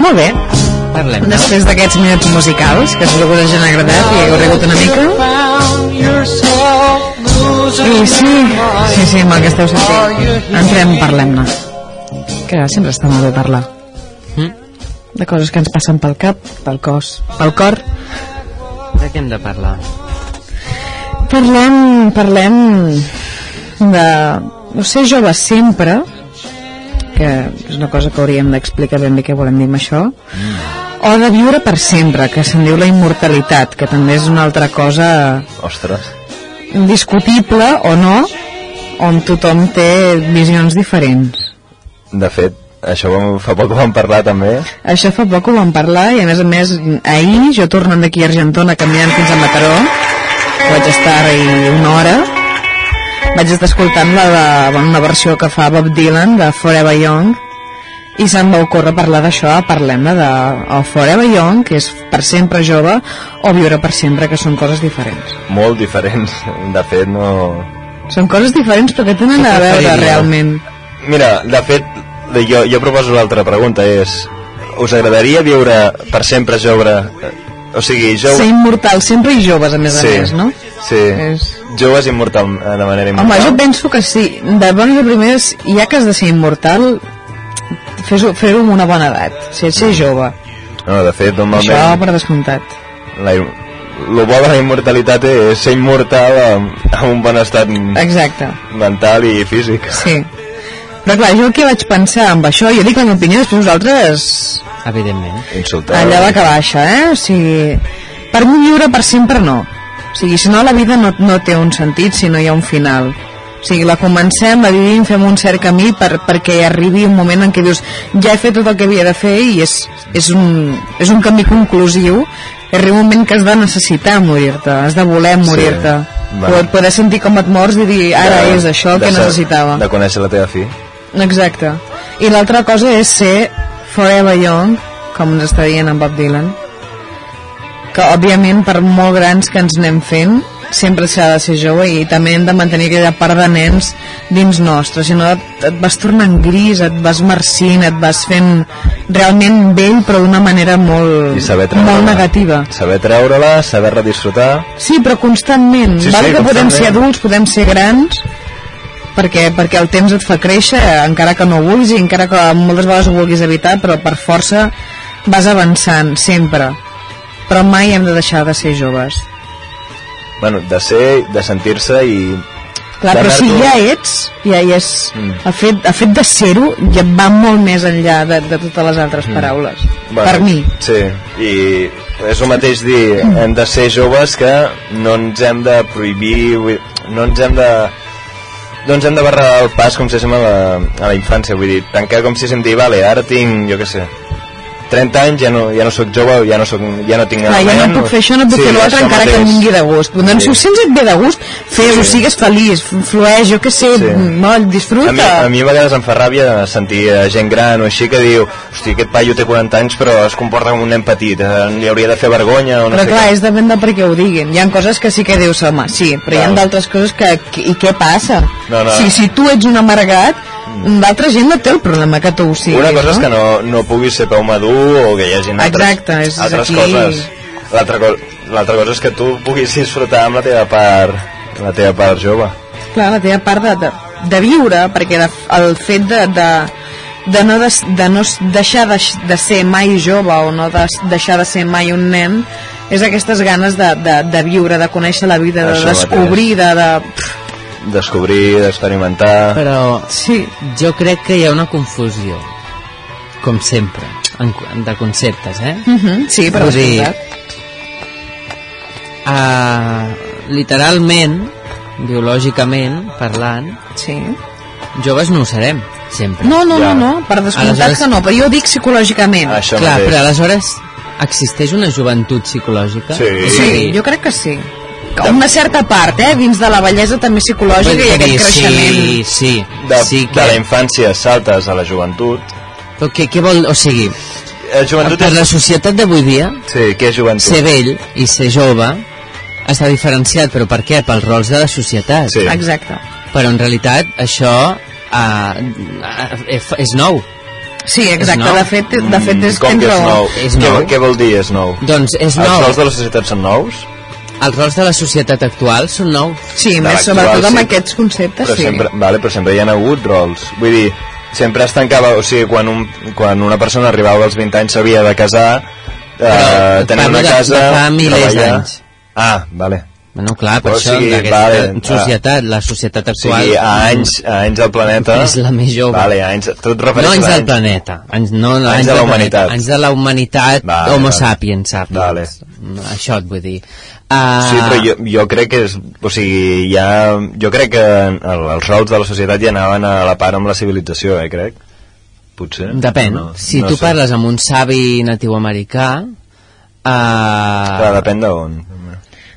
S1: Molt bé,
S3: Parlem. No?
S1: després d'aquests minuts musicals, que segur que us hagin agradat i heu rigut una mica. I sí, sí, sí, amb el que esteu sentint. Entrem, parlem-ne. Que sempre està molt bé parlar.
S3: Mm?
S1: De coses que ens passen pel cap, pel cos, pel cor.
S3: De què hem de parlar?
S1: Parlem, parlem de... No sé, jove sempre, que és una cosa que hauríem d'explicar ben bé què volem dir amb això, o de viure per sempre, que se'n diu la immortalitat, que també és una altra cosa
S2: Ostres.
S1: discutible o no, on tothom té visions diferents.
S2: De fet, això vam, fa poc vam parlar també.
S1: Això fa poc ho vam parlar i a més a més ahir jo tornant d'aquí a Argentona caminant fins a Mataró vaig estar-hi una hora vaig estar escoltant la de, bueno, una versió que fa Bob Dylan de Forever Young i se'm va ocórrer parlar d'això, parlem-ne de o Forever Young, que és per sempre jove, o viure per sempre, que són coses diferents.
S2: Molt diferents. De fet, no...
S1: Són coses diferents però que tenen a veure
S3: preferiries?
S1: realment.
S2: Mira, de fet, jo, jo proposo l'altra pregunta, és... us agradaria viure per sempre jove? O sigui, jove...
S1: Ser immortal sempre i joves, a més
S2: Sí.
S1: a més, no?
S2: Sí.
S1: És-
S2: Joves immortal, eh, de manera
S1: Home,
S2: immortal.
S1: jo penso que sí. De bones a primeres, ja que has de ser immortal, fes-ho- fer-ho amb una bona edat. Si ets ser jove.
S2: No, de fet, normalment...
S1: Això per descomptat.
S2: La, lo bo de la immortalitat és ser immortal amb, amb un bon estat
S1: Exacte,
S2: mental i físic.
S1: sí. Però clar, jo què vaig pensar amb això? Jo dic la meva opinió, després vosaltres...
S3: evidentment.
S2: Insultar.
S1: Allà va que baixa, eh? O sigui, per un lliure per sempre no. O sigui, si no la vida no, no té un sentit si no hi ha un final. O sigui, la comencem, la vivim, fem un cert camí per, perquè arribi un moment en què dius ja he fet tot el que havia de fer i és, és, un, és un camí conclusiu arriba un moment que has de necessitar morir-te, has de voler morir-te
S2: va.
S1: poder, poder sentir com et mors i dir ara
S2: De-
S1: és això el
S2: de
S1: que
S2: sa-
S1: necessitava
S2: De conèixer la teva fi.
S1: Exacte. I l'altra cosa és ser forever young, com ens està dient en Bob Dylan, que òbviament per molt grans que ens anem fent sempre s'ha de ser jove i també hem de mantenir aquella part de nens dins nostre, si no et, et vas tornant gris, et vas marcint, et vas fent realment vell però d'una manera molt,
S2: I saber treure-la.
S1: molt negativa.
S2: Saber treure-la, saber-la disfrutar.
S1: Sí, però constantment.
S2: Sí,
S1: Sí, Val
S2: sí,
S1: que podem
S2: constantment.
S1: ser adults, podem ser grans, perquè, perquè el temps et fa créixer, eh, encara que no ho vulguis i encara que moltes vegades ho vulguis evitar, però per força vas avançant, sempre. Però mai hem de deixar de ser joves.
S2: Bueno, de ser, de sentir-se i...
S1: Clar, però
S2: d'anar
S1: si
S2: tu-
S1: ja ets, ja hi és... Mm. El, fet, el fet de ser-ho ja va molt més enllà de, de totes les altres mm. paraules.
S2: Bueno,
S1: per mi.
S2: Sí, i és el mateix dir, hem de ser joves que no ens hem de prohibir, vull- no ens hem de... No ens hem de barrar el pas com si féssim a la, a la infància, vull dir, tancar com si féssim dir, vale, ara tinc, jo què sé, 30 anys, ja no, ja no sóc jove, ja no, soc, ja no tinc...
S1: Clar, ja no
S2: nen,
S1: puc fer això, no puc
S2: sí,
S1: fer l'altre
S2: això
S1: encara que em
S2: mateix.
S1: vingui de gust. Doncs
S2: Sí.
S1: si ho sents et ve de gust, fes-ho,
S2: Sí.
S1: sigues feliç, flueix, jo què sé,
S2: Sí.
S1: molt, disfruta.
S2: A mi, a mi a vegades em fa ràbia sentir eh, gent gran o així que diu hosti, aquest paio té 40 anys però es comporta com un nen petit, eh, li hauria de fer vergonya o no
S1: però
S2: sé
S1: clar,
S2: què.
S1: és depèn de per què ho diguin. Hi ha coses que sí que dius, home, sí, però hi ha
S2: Clar.
S1: d'altres coses que, que... I què passa?
S2: No, no.
S1: Si, si tu ets un amargat, l'altra gent no té el problema que tu ho siguis,
S2: Una cosa
S1: no?
S2: és que no, no puguis ser peu madur o que hi hagi altres,
S1: Exacte, és- és
S2: altres
S1: aquí.
S2: coses. L'altra co l'altra cosa és que tu puguis disfrutar amb la teva part, la teva part jove.
S1: Clar, la teva part de, de, de viure, perquè de, el fet de, de, de no, des, de no s- deixar de, de ser mai jove o no de, deixar de ser mai un nen, és aquestes ganes de, de, de viure, de conèixer la vida, de
S2: Això mateix.
S1: descobrir, de... de...
S2: Descobrir, d'experimentar...
S3: Però
S1: Sí,
S3: jo crec que hi ha una confusió, com sempre, en, de conceptes, eh?
S1: uh -huh. sí, per
S3: Vull dir,
S1: descomptat.
S3: Uh, literalment, biològicament parlant,
S1: Sí.
S3: joves no ho serem, sempre.
S1: No, no,
S2: Ja.
S1: no, no, per descomptat
S3: Aleshores- Ah,
S1: que no, però jo dic psicològicament.
S2: Això
S3: Clar,
S2: mateix.
S3: però aleshores existeix una joventut psicològica?
S2: Sí.
S3: És a
S1: Sí,
S3: dir,
S1: jo crec que sí. Que Una certa part, eh, dins de la bellesa també psicològica i
S3: vull dir,
S1: aquest creixement.
S3: Sí, sí,
S2: De,
S3: sí
S2: de la
S3: que...
S2: infància saltes a la joventut.
S3: Però què, què vol... O sigui,
S2: Eh, joventut
S3: per
S2: és...
S3: la societat d'avui dia,
S2: Sí, què és joventut?
S3: ser vell i ser jove està diferenciat, però per què? Pels rols de la societat.
S2: Sí.
S1: Exacte.
S3: Però en realitat això uh, és nou.
S1: Sí, exacte,
S3: nou?
S1: de fet, de fet és
S2: Mm, Com
S1: tens
S2: que és
S1: raó.
S2: nou?
S3: És nou.
S2: Què, què vol dir és nou?
S3: Doncs és
S2: Els
S3: nou.
S2: rols de la societat són nous?
S3: Els rols de la societat actual són nous.
S1: Sí,
S2: De
S1: més
S2: l'actual,
S1: sobretot amb
S2: sí.
S1: aquests conceptes,
S2: però
S1: sí.
S2: sempre, vale, però sempre hi ha hagut rols vull dir, sempre es tancava o sigui, quan, un, quan una persona arribava als 20 anys s'havia de casar eh,
S3: Però
S2: tenir
S3: parlo
S2: una
S3: de-
S2: casa
S3: de fa milers
S2: treballar.
S3: d'anys.
S2: ah, vale
S3: Bueno, clar, per
S2: O
S3: això,
S2: sigui,
S3: d'aquesta
S2: vale,
S3: societat, la societat
S2: o
S3: actual...
S2: sigui, a anys, a anys del planeta
S3: És la més jove.
S2: vale, a anys, tu et
S3: No
S2: refereixes
S3: anys
S2: a
S3: del planeta, anys, no, no,
S2: Anys de la
S3: del planeta,
S2: humanitat.
S3: Anys de la humanitat
S2: Vale,
S3: homo
S2: vale.
S3: sapiens, sapiens.
S2: Vale.
S3: Això et vull dir. Uh,
S2: Sí, però jo, jo crec que és, o sigui, ja, jo crec que el, els rols de la societat ja anaven a la part amb la civilització, eh, crec. Potser.
S3: Depèn. No, si tu
S2: sé.
S3: parles amb un savi natiu americà... Uh,
S2: Clar, depèn d'on.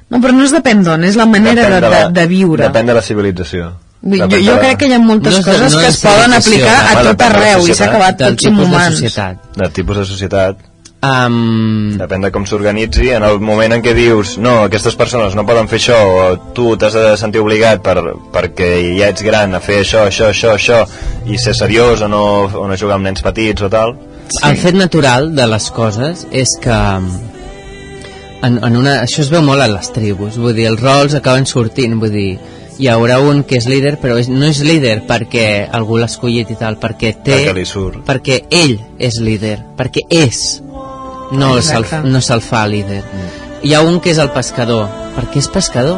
S1: No, però no es depèn d'on, és la manera
S2: Depèn
S1: de, de,
S2: la-
S1: de viure.
S2: Depèn de la civilització.
S1: Vull dir,
S2: Depèn
S1: Jo,
S2: de
S1: jo
S2: la-
S1: crec que hi ha moltes
S3: No és de-
S1: coses
S3: no
S1: que
S3: és
S1: es poden
S3: civilització,
S1: aplicar a
S2: depèn
S1: tot
S2: de la
S1: arreu i s'ha
S2: societat,
S1: acabat
S3: del
S1: tot som
S3: tipus de
S1: humans.
S3: societat.
S2: del tipus de societat
S3: Um,
S2: depèn de com s'organitzi en el moment en què dius no, aquestes persones no poden fer això o tu t'has de sentir obligat per, perquè ja ets gran a fer això, això, això, això i ser seriós o no, o no jugar amb nens petits o tal
S1: Sí.
S3: El fet natural de les coses és que en, en una, això es veu molt a les tribus, vull dir, els rols acaben sortint, vull dir, hi haurà un que és líder, però és, no és líder perquè algú l'ha escollit i tal, perquè té...
S2: Perquè li surt.
S3: Perquè ell és líder, perquè és, no se'l
S1: Exacte.
S3: no se'l fa líder. Hi ha un que és el pescador, perquè és pescador,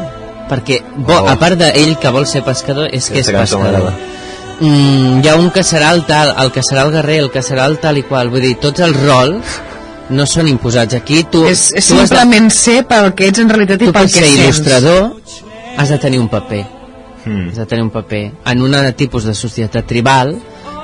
S3: perquè, bo,
S2: Oh.
S3: a part d'ell que vol ser pescador, és que és
S2: Aquesta cançó
S3: pescador.
S2: m'agrada.
S3: Mm, hi ha un que serà el tal, el que serà el guerrer, el que serà el tal i qual. Vull dir, tots els rols no són imposats. Aquí tu,
S1: És, és
S3: tu, has de,
S1: simplement ser pel que ets en realitat i
S3: tu per
S1: pel que
S3: ser
S1: sents.
S3: il·lustrador has de tenir un paper.
S2: Mm.
S3: Has de tenir un paper. En un tipus de societat tribal,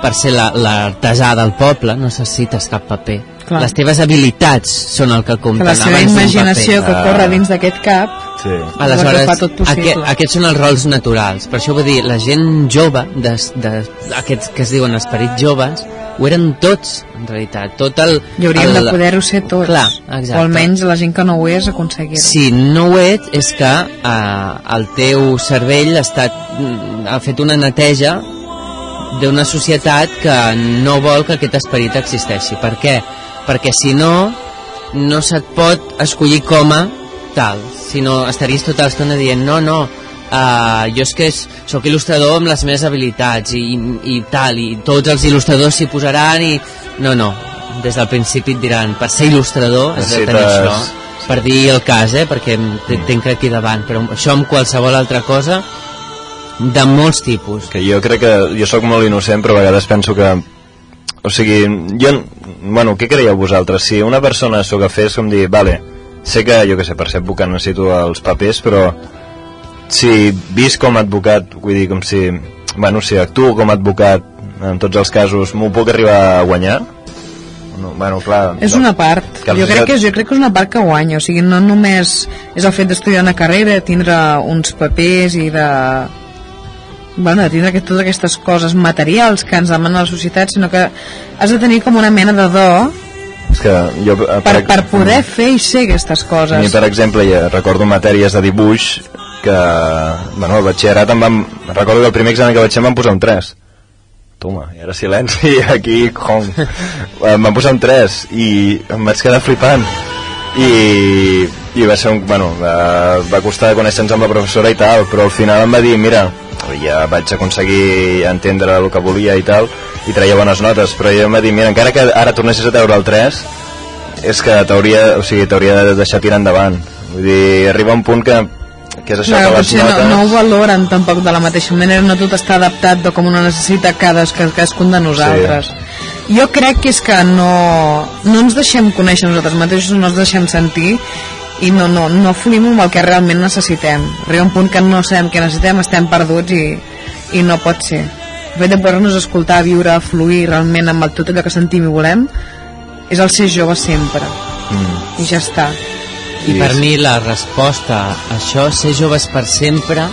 S3: per ser la- l'artesà la, del poble, no necessites cap paper.
S1: Clar.
S3: Les teves habilitats són el que
S1: Que
S3: compten.
S1: la seva
S3: abans d'un
S1: imaginació
S3: paper.
S1: que
S2: Ah.
S1: corre dins d'aquest cap
S2: Sí.
S1: Ho
S3: Aleshores,
S1: fa tot possible.
S3: aquest, aquests són els rols naturals. Per això vull dir, la gent jove, de, de, aquests que es diuen esperits joves, ho eren tots, en realitat. Tot el,
S1: i hauríem
S3: el,
S1: de poder-ho ser tots.
S3: Clar, exacte.
S1: O almenys la gent que no ho és aconseguir-ho.
S3: Si no ho ets, és que eh, el teu cervell ha, estat, mm, ha fet una neteja d'una societat que no vol que aquest esperit existeixi. Per què? Perquè si no, no se't pot escollir com a tal, sinó estaries tota l'estona dient no, no, uh, jo és que és, sóc il·lustrador amb les meves habilitats i, i, i tal, i tots els il·lustradors s'hi posaran i... No, no, des del principi et diran per ser il·lustrador has de tenir
S2: Necessites-
S3: això per dir el cas, eh, perquè em- te- tinc aquí davant, però això amb qualsevol altra cosa de molts tipus.
S2: Que jo crec que... Jo sóc molt innocent, però a vegades penso que... O sigui, jo... Bueno, què creieu vosaltres? Si una persona s'ho que fes com dir, vale, sé que, jo que sé, per ser advocat necessito els papers, però si visc com a advocat, vull dir, com si... Bueno, si actuo com a advocat en tots els casos, m'ho puc arribar a guanyar? No, bueno, clar...
S1: És
S2: no.
S1: una part.
S2: Que la
S1: Jo crec,
S2: societat-
S1: que és, jo crec que és una part que guanya. O sigui, no només és el fet d'estudiar una carrera, tindre uns papers i de... Bueno, de tindre aquest, totes aquestes coses materials que ens demana la societat, sinó que has de tenir com una mena de do
S2: És que jo... eh,
S1: per, per poder fer i ser aquestes
S2: A mi,
S1: coses.
S2: per exemple, ja recordo matèries de dibuix que, bueno, al batxillerat em van... Recordo que el primer examen que vaig fer em van posar un 3. Toma, i ara silenci, aquí, Eh, com... Em van posar un 3 i em vaig quedar flipant. I, i va ser un... Bueno, eh, va costar conèixer-nos amb la professora i tal, però al final em va dir, mira, ja vaig aconseguir entendre el que volia i tal, i traia bones notes, però ella em va dir, mira, encara que ara tornessis a treure el 3, és que t'hauria o sigui, t'hauria de deixar tirar endavant vull dir, arriba un punt que que és això
S1: Clar,
S2: que les
S1: potser no,
S2: notes
S1: no ho valoren tampoc de la mateixa manera, no tot està adaptat de com ho necessita cada, ca- cadascun de nosaltres. Sí. Jo crec que és que no, no ens deixem conèixer nosaltres mateixos, no ens deixem sentir i no, no, no fluïm amb el que realment necessitem. Arriba un punt que no sabem què necessitem, estem perduts i, i no pot ser. El fet de poder-nos escoltar, viure, fluir realment amb el, tot allò que sentim i volem és el ser jove sempre.
S2: mm,
S1: I ja està.
S3: I
S2: Sí,
S3: per
S2: sí.
S3: mi la resposta a això, ser joves per sempre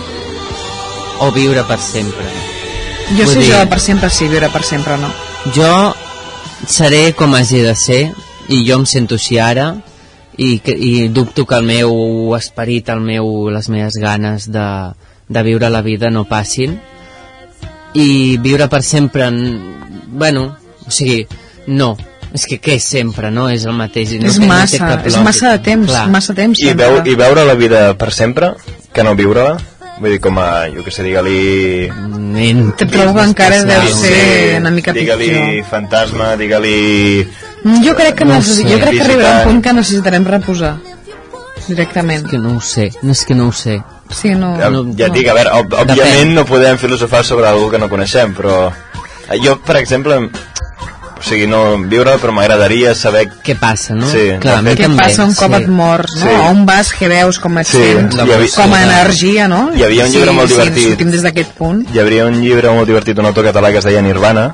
S3: o viure per sempre.
S1: Jo
S3: Vull
S1: ser
S3: dir-
S1: jove per sempre sí, viure per sempre no.
S3: Jo seré com hagi de ser i jo em sento així ara i, que- i dubto que el meu esperit, el meu, les meves ganes de, de viure la vida no passin i viure per sempre n- bueno, o sigui, no és que què és sempre, no? És el mateix i no
S1: és
S3: té- no té
S1: massa,
S3: cap
S1: és
S3: lògica.
S1: massa de temps,
S3: Clar.
S1: massa temps.
S2: i,
S1: sempre.
S2: veu, i veure la vida per sempre que no viure-la vull dir, com a, jo que sé, digue-li
S3: Nen,
S1: Te trobo que encara
S3: especial.
S1: deu
S2: no
S1: ser
S2: sé,
S1: una mica
S2: digue-li
S1: pitjor.
S2: fantasma digue-li
S1: Mm, Jo crec que,
S3: No
S1: no
S3: sé.
S1: jo crec que arribarà un
S2: Visitant.
S1: punt que necessitarem reposar directament.
S3: És que no ho sé, no és que no ho sé.
S1: Sí, no,
S2: ja,
S1: no,
S2: ja et dic, a veure, ob òbviament
S3: Depèn.
S2: no podem filosofar sobre algú que no coneixem però eh, jo, per exemple o sigui, no viure però m'agradaria saber
S3: Què passa, no?
S2: Sí,
S3: Clar, a mi
S2: de
S1: què
S3: també,
S1: passa un cop
S3: sí.
S1: et mors, no?
S2: Sí.
S1: A on vas, què veus, com et
S2: Sí,
S1: sents,
S2: hi havia-
S1: com a energia, no?
S2: Hi havia un llibre molt divertit.
S1: Sí, sortim des d'aquest punt.
S2: hi hauria un llibre molt divertit d'un autor català que es deia Nirvana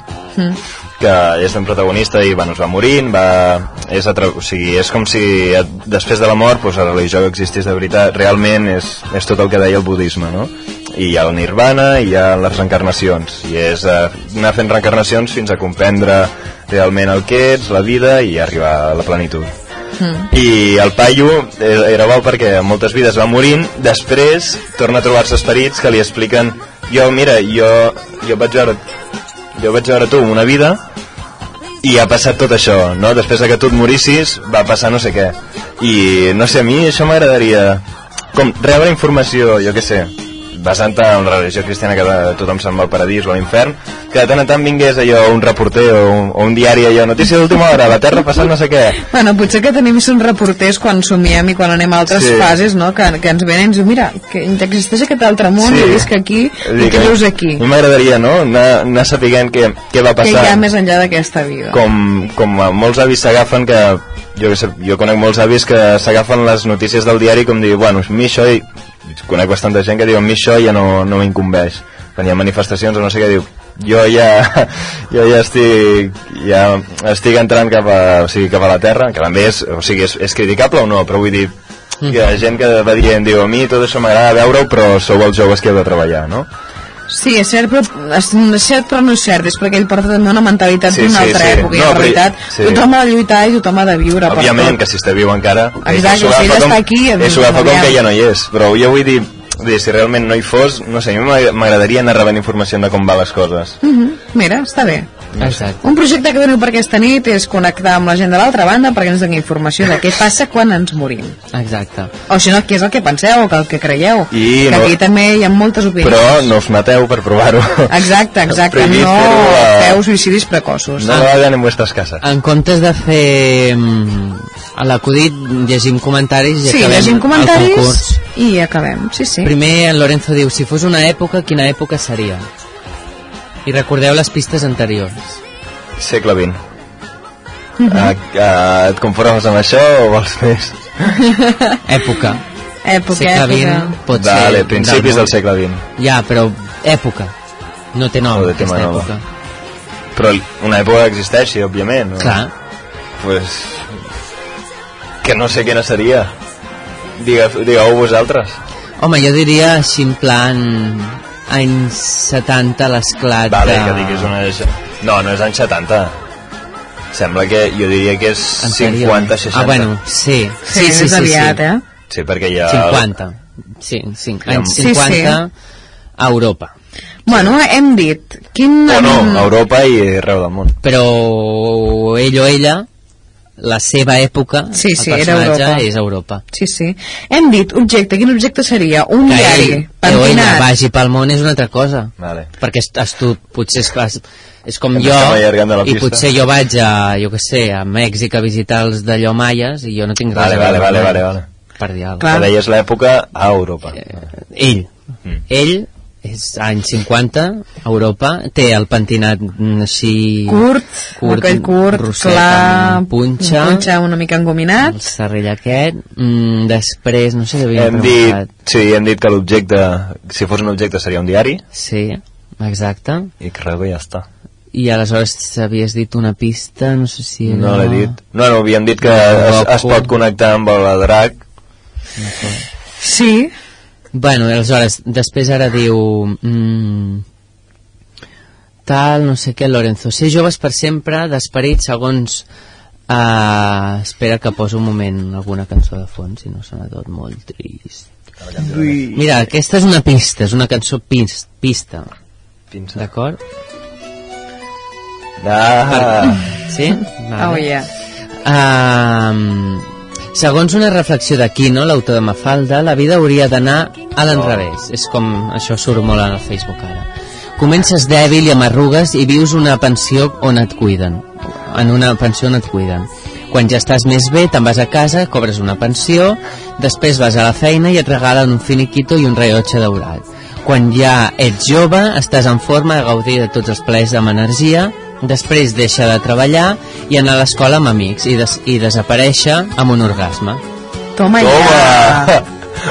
S2: que és un protagonista i bueno, es va morint va... És, atra... o sigui, és com si et- després de la mort doncs, la religió que existís de veritat realment és, és tot el que deia el budisme no? i hi ha el nirvana i hi ha les reencarnacions i és eh, anar fent reencarnacions fins a comprendre realment el que ets, la vida i arribar a la plenitud i el paio eh, era bo perquè en moltes vides va morint després torna a trobar-se esperits que li expliquen jo mira, jo, jo vaig veure jo vaig veure tu una vida i ha passat tot això, no? Després de que tu et morissis, va passar no sé què. I no sé, a mi això m'agradaria... Com rebre informació, jo què sé, basant-te en la religió cristiana que de- tothom se'n va al paradís o a l'infern, que de tant en tant vingués allò un reporter o un, o un diari allò, notícia d'última hora, a la Terra ha passat no sé què.
S1: Bueno, potser que tenim són reporters quan somiem i quan anem a altres
S2: Sí.
S1: sí. fases, no? Que, que ens venen i ens diuen, mira, que existeix aquest altre món,
S2: Sí.
S1: sí. jo visc aquí i
S2: Dic,
S1: tu vius
S2: A
S1: aquí.
S2: mi m'agradaria, no?, anar, anar sapiguent què, què va
S1: Que hi
S2: passar.
S1: ha més enllà d'aquesta vida.
S2: com, com a molts avis s'agafen que jo, que sé, jo conec molts avis que s'agafen les notícies del diari com dir, bueno, a mi això i, conec bastanta gent que diu, a mi això ja no, no m'incumbeix quan hi ha manifestacions o no sé què diu jo ja, jo ja estic ja estic entrant cap a, o sigui, cap a la terra, que també és, o sigui, és, és criticable o no, però vull dir que la gent que va dient, diu, a mi tot això m'agrada veure-ho, però sou els joves que heu de treballar, no?
S1: Sí, és cert, però, és, és cert, però no és cert, és perquè ell porta també una mentalitat
S2: Sí,
S1: d'una
S2: sí,
S1: altra
S2: sí.
S1: època, i
S2: No,
S1: en
S2: però-
S1: realitat
S2: sí.
S1: tothom ha de lluitar i tothom ha de viure. per
S2: Òbviament,
S1: tot.
S2: que si està viu encara...
S1: Exacte,
S2: és ho
S1: si ell
S2: agafa
S1: està aquí,
S2: És ho agafa com
S1: aviam.
S2: que ja no hi és, però jo vull dir, vull dir si realment no hi fos, no sé, a mi m'ag- m'agradaria anar rebent informació de com van les coses.
S1: Mhm, Mira, està bé.
S3: Exacte.
S1: Un projecte que teniu per aquesta nit és connectar amb la gent de l'altra banda perquè ens doni informació de què passa quan ens morim.
S3: Exacte.
S1: O si no, què és el que penseu, que el que creieu.
S2: I
S1: que
S2: no-
S1: aquí també hi ha moltes opinions.
S2: Però no us mateu per provar-ho.
S1: Exacte, exacte.
S2: Prohibit
S1: No
S2: fer-ho a-
S1: feu suïcidis precoços.
S2: No lo hagan en vuestras casas.
S3: En comptes de fer mm, a l'acudit, llegim comentaris i
S1: Sí,
S3: acabem
S1: llegim
S3: el concurs.
S1: comentaris i acabem. Sí, sí.
S3: Primer, en Lorenzo diu, si fos una època, quina època seria? I recordeu les pistes anteriors.
S2: Segle XX. Uh et conformes amb això o vols més?
S3: Època.
S1: Època,
S3: Segle
S1: època.
S3: XX pot
S2: Vale,
S3: ser...
S2: principis del
S3: món.
S2: segle XX.
S3: Ja, però època. No té nom,
S2: No té
S3: aquesta
S2: nom.
S3: època.
S2: Però una època que existeix, sí, òbviament. no?
S3: Clar.
S2: Pues... Que no sé quina seria. Digue- Digueu-ho vosaltres.
S3: Home, jo diria així en plan anys 70 l'esclat
S2: Vale,
S3: de-
S2: que diguis una... No, no és anys 70. Sembla que jo diria que és
S3: anterior.
S2: 50-60.
S3: Ah, bueno, sí.
S1: Sí, sí, sí, és aviat,
S3: sí.
S1: eh?
S2: Sí, perquè hi ha...
S3: 50. Sí, sí. Anys
S1: Sí,
S3: 50 a Europa.
S1: Bueno, hem dit quin...
S2: O no, a Europa i arreu del món.
S3: Però ell o ella, la seva època,
S1: Sí, sí,
S3: el
S1: era
S3: personatge
S1: Europa.
S3: és Europa.
S1: Sí, sí. Hem dit objecte. Quin objecte seria? Un
S3: Que
S1: diari.
S3: ell o ella
S1: Pentinat.
S3: Eh, vagi pel món és una altra cosa.
S2: Vale.
S3: Perquè est- estu, potser és, clar, és- és com
S2: Ens
S3: jo,
S2: estem allargant de la
S3: i
S2: pista.
S3: potser jo vaig a, jo que sé, a Mèxic a visitar els d'allò maies, i jo no tinc res
S2: Vale,
S3: a veure.
S2: vale,
S3: amb
S2: vale,
S3: ells.
S2: vale, vale.
S3: Per dir alguna
S1: Clar.
S2: Que deies l'època a Europa.
S3: cosa. Ell.
S2: Mm.
S3: Ell és anys 50, Europa, té el pentinat mm, així...
S1: Curt, curt, aquell curt,
S3: rosset,
S1: clar,
S3: amb punxa,
S1: punxa una mica engominat.
S3: el serrell aquest, mm, després, no sé, l'havia
S2: Hem dit, sí, hem dit que l'objecte, si fos un objecte seria un diari,
S3: Sí, exacte.
S2: i crec que ja està.
S3: I aleshores havies dit una pista, no sé si era...
S2: No l'he dit. No, no, havíem dit que es, es pot connectar amb el drac.
S1: Sí.
S3: Bueno, aleshores, després ara diu... Mm, tal, no sé què, Lorenzo. Ser joves per sempre, d'esperit, segons... Uh, espera que poso un moment alguna cançó de fons, si no sona tot molt trist. Mira, aquesta és una pista, és una cançó pis, pista,
S2: Pinça.
S3: d'acord?
S2: Ah,
S3: Sí?
S1: Oh, yeah.
S3: Um, segons una reflexió d'Aquino, l'autor de Mafalda, la vida hauria d'anar a l'enrevés. És com això surt molt al Facebook ara. Comences dèbil i amb arrugues i vius una pensió on et cuiden. En una pensió on et cuiden. Quan ja estàs més bé, te'n vas a casa, cobres una pensió, després vas a la feina i et regalen un finiquito i un rellotge daurat. Quan ja ets jove, estàs en forma de gaudir de tots els plaers amb energia, després deixa de treballar i anar a l'escola amb amics i, des i desaparèixer amb un orgasme.
S1: Toma, ja.
S2: Toma!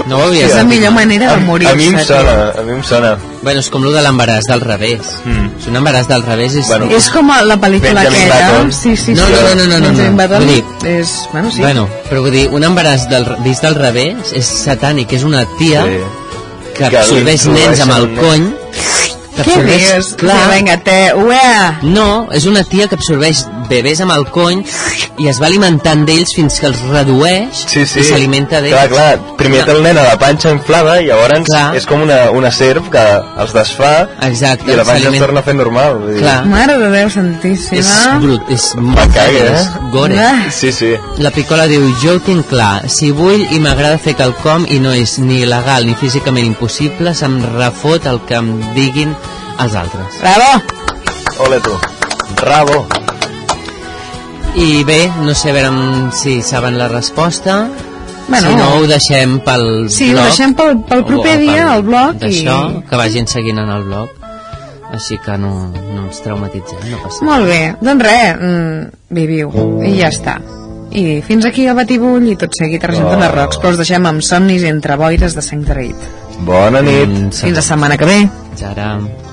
S3: No ho havies
S1: És la
S3: dit.
S1: millor manera de morir-se.
S2: A mi em
S1: tio.
S2: sona, a mi em sona.
S3: Bueno, és com lo de l'embaràs del revés.
S2: Mm.
S3: Si un embaràs del revés és...
S2: Bueno,
S1: És com la pel·lícula
S2: Benjamin
S1: aquella.
S2: Button.
S1: Sí, sí,
S3: No,
S1: sí.
S3: no, no, no, no,
S1: Benjamin
S3: no.
S1: Button
S3: Vull dir-
S1: és... Bueno, sí.
S3: bueno, però vull dir, un embaràs del, vist del revés és satànic, és una tia
S2: Sí.
S3: que
S2: Que
S3: absorbeix
S2: li
S3: nens amb el
S2: introdueixen-
S3: cony
S1: Què
S3: absorbeix...
S1: dius?
S3: Clar, Ah.
S1: Sí, Vinga, te... Ué!
S3: No, és una tia que absorbeix bebès amb el cony i es va alimentant d'ells fins que els redueix
S2: Sí, sí.
S3: i s'alimenta d'ells.
S2: Clar, clar. Primer té el nen a la panxa inflada i llavors
S3: Clar.
S2: és com una, una serp que els desfà
S3: Exacte,
S2: i la panxa es
S3: s'alimenta-
S2: torna a fer normal. Vull dir,
S3: Clar.
S1: Mare de Déu
S3: És
S1: santíssima.
S3: brut, és
S2: Me
S3: molt
S2: cague, eh?
S3: fèric, és gore.
S1: Ah.
S2: Sí, sí.
S3: La Picola diu, jo ho tinc clar, si vull i m'agrada fer quelcom i no és ni il·legal ni físicament impossible, se'm refot el que em diguin els altres.
S1: Bravo!
S2: Ole tu. Rabo.
S3: I bé, no sé a veure si saben la resposta,
S1: Bueno.
S3: si no ho deixem pel
S1: Sí, ho
S3: blog.
S1: deixem pel- pel
S3: o-
S1: proper
S3: o
S1: dia, al blog, i-
S3: D'això, que vagin seguint en el blog, així que no, no ens traumatitzem, no passa
S1: Molt bé, doncs res, mm, viviu, i ja està. I fins aquí el batibull i tot seguit Argentona
S2: Oh.
S1: Rocks, però us deixem amb somnis entre boires de Sant Territ.
S2: Bona nit.
S3: Mm,
S1: Fins la setmana que ve.
S3: Fins ara.
S4: Oh,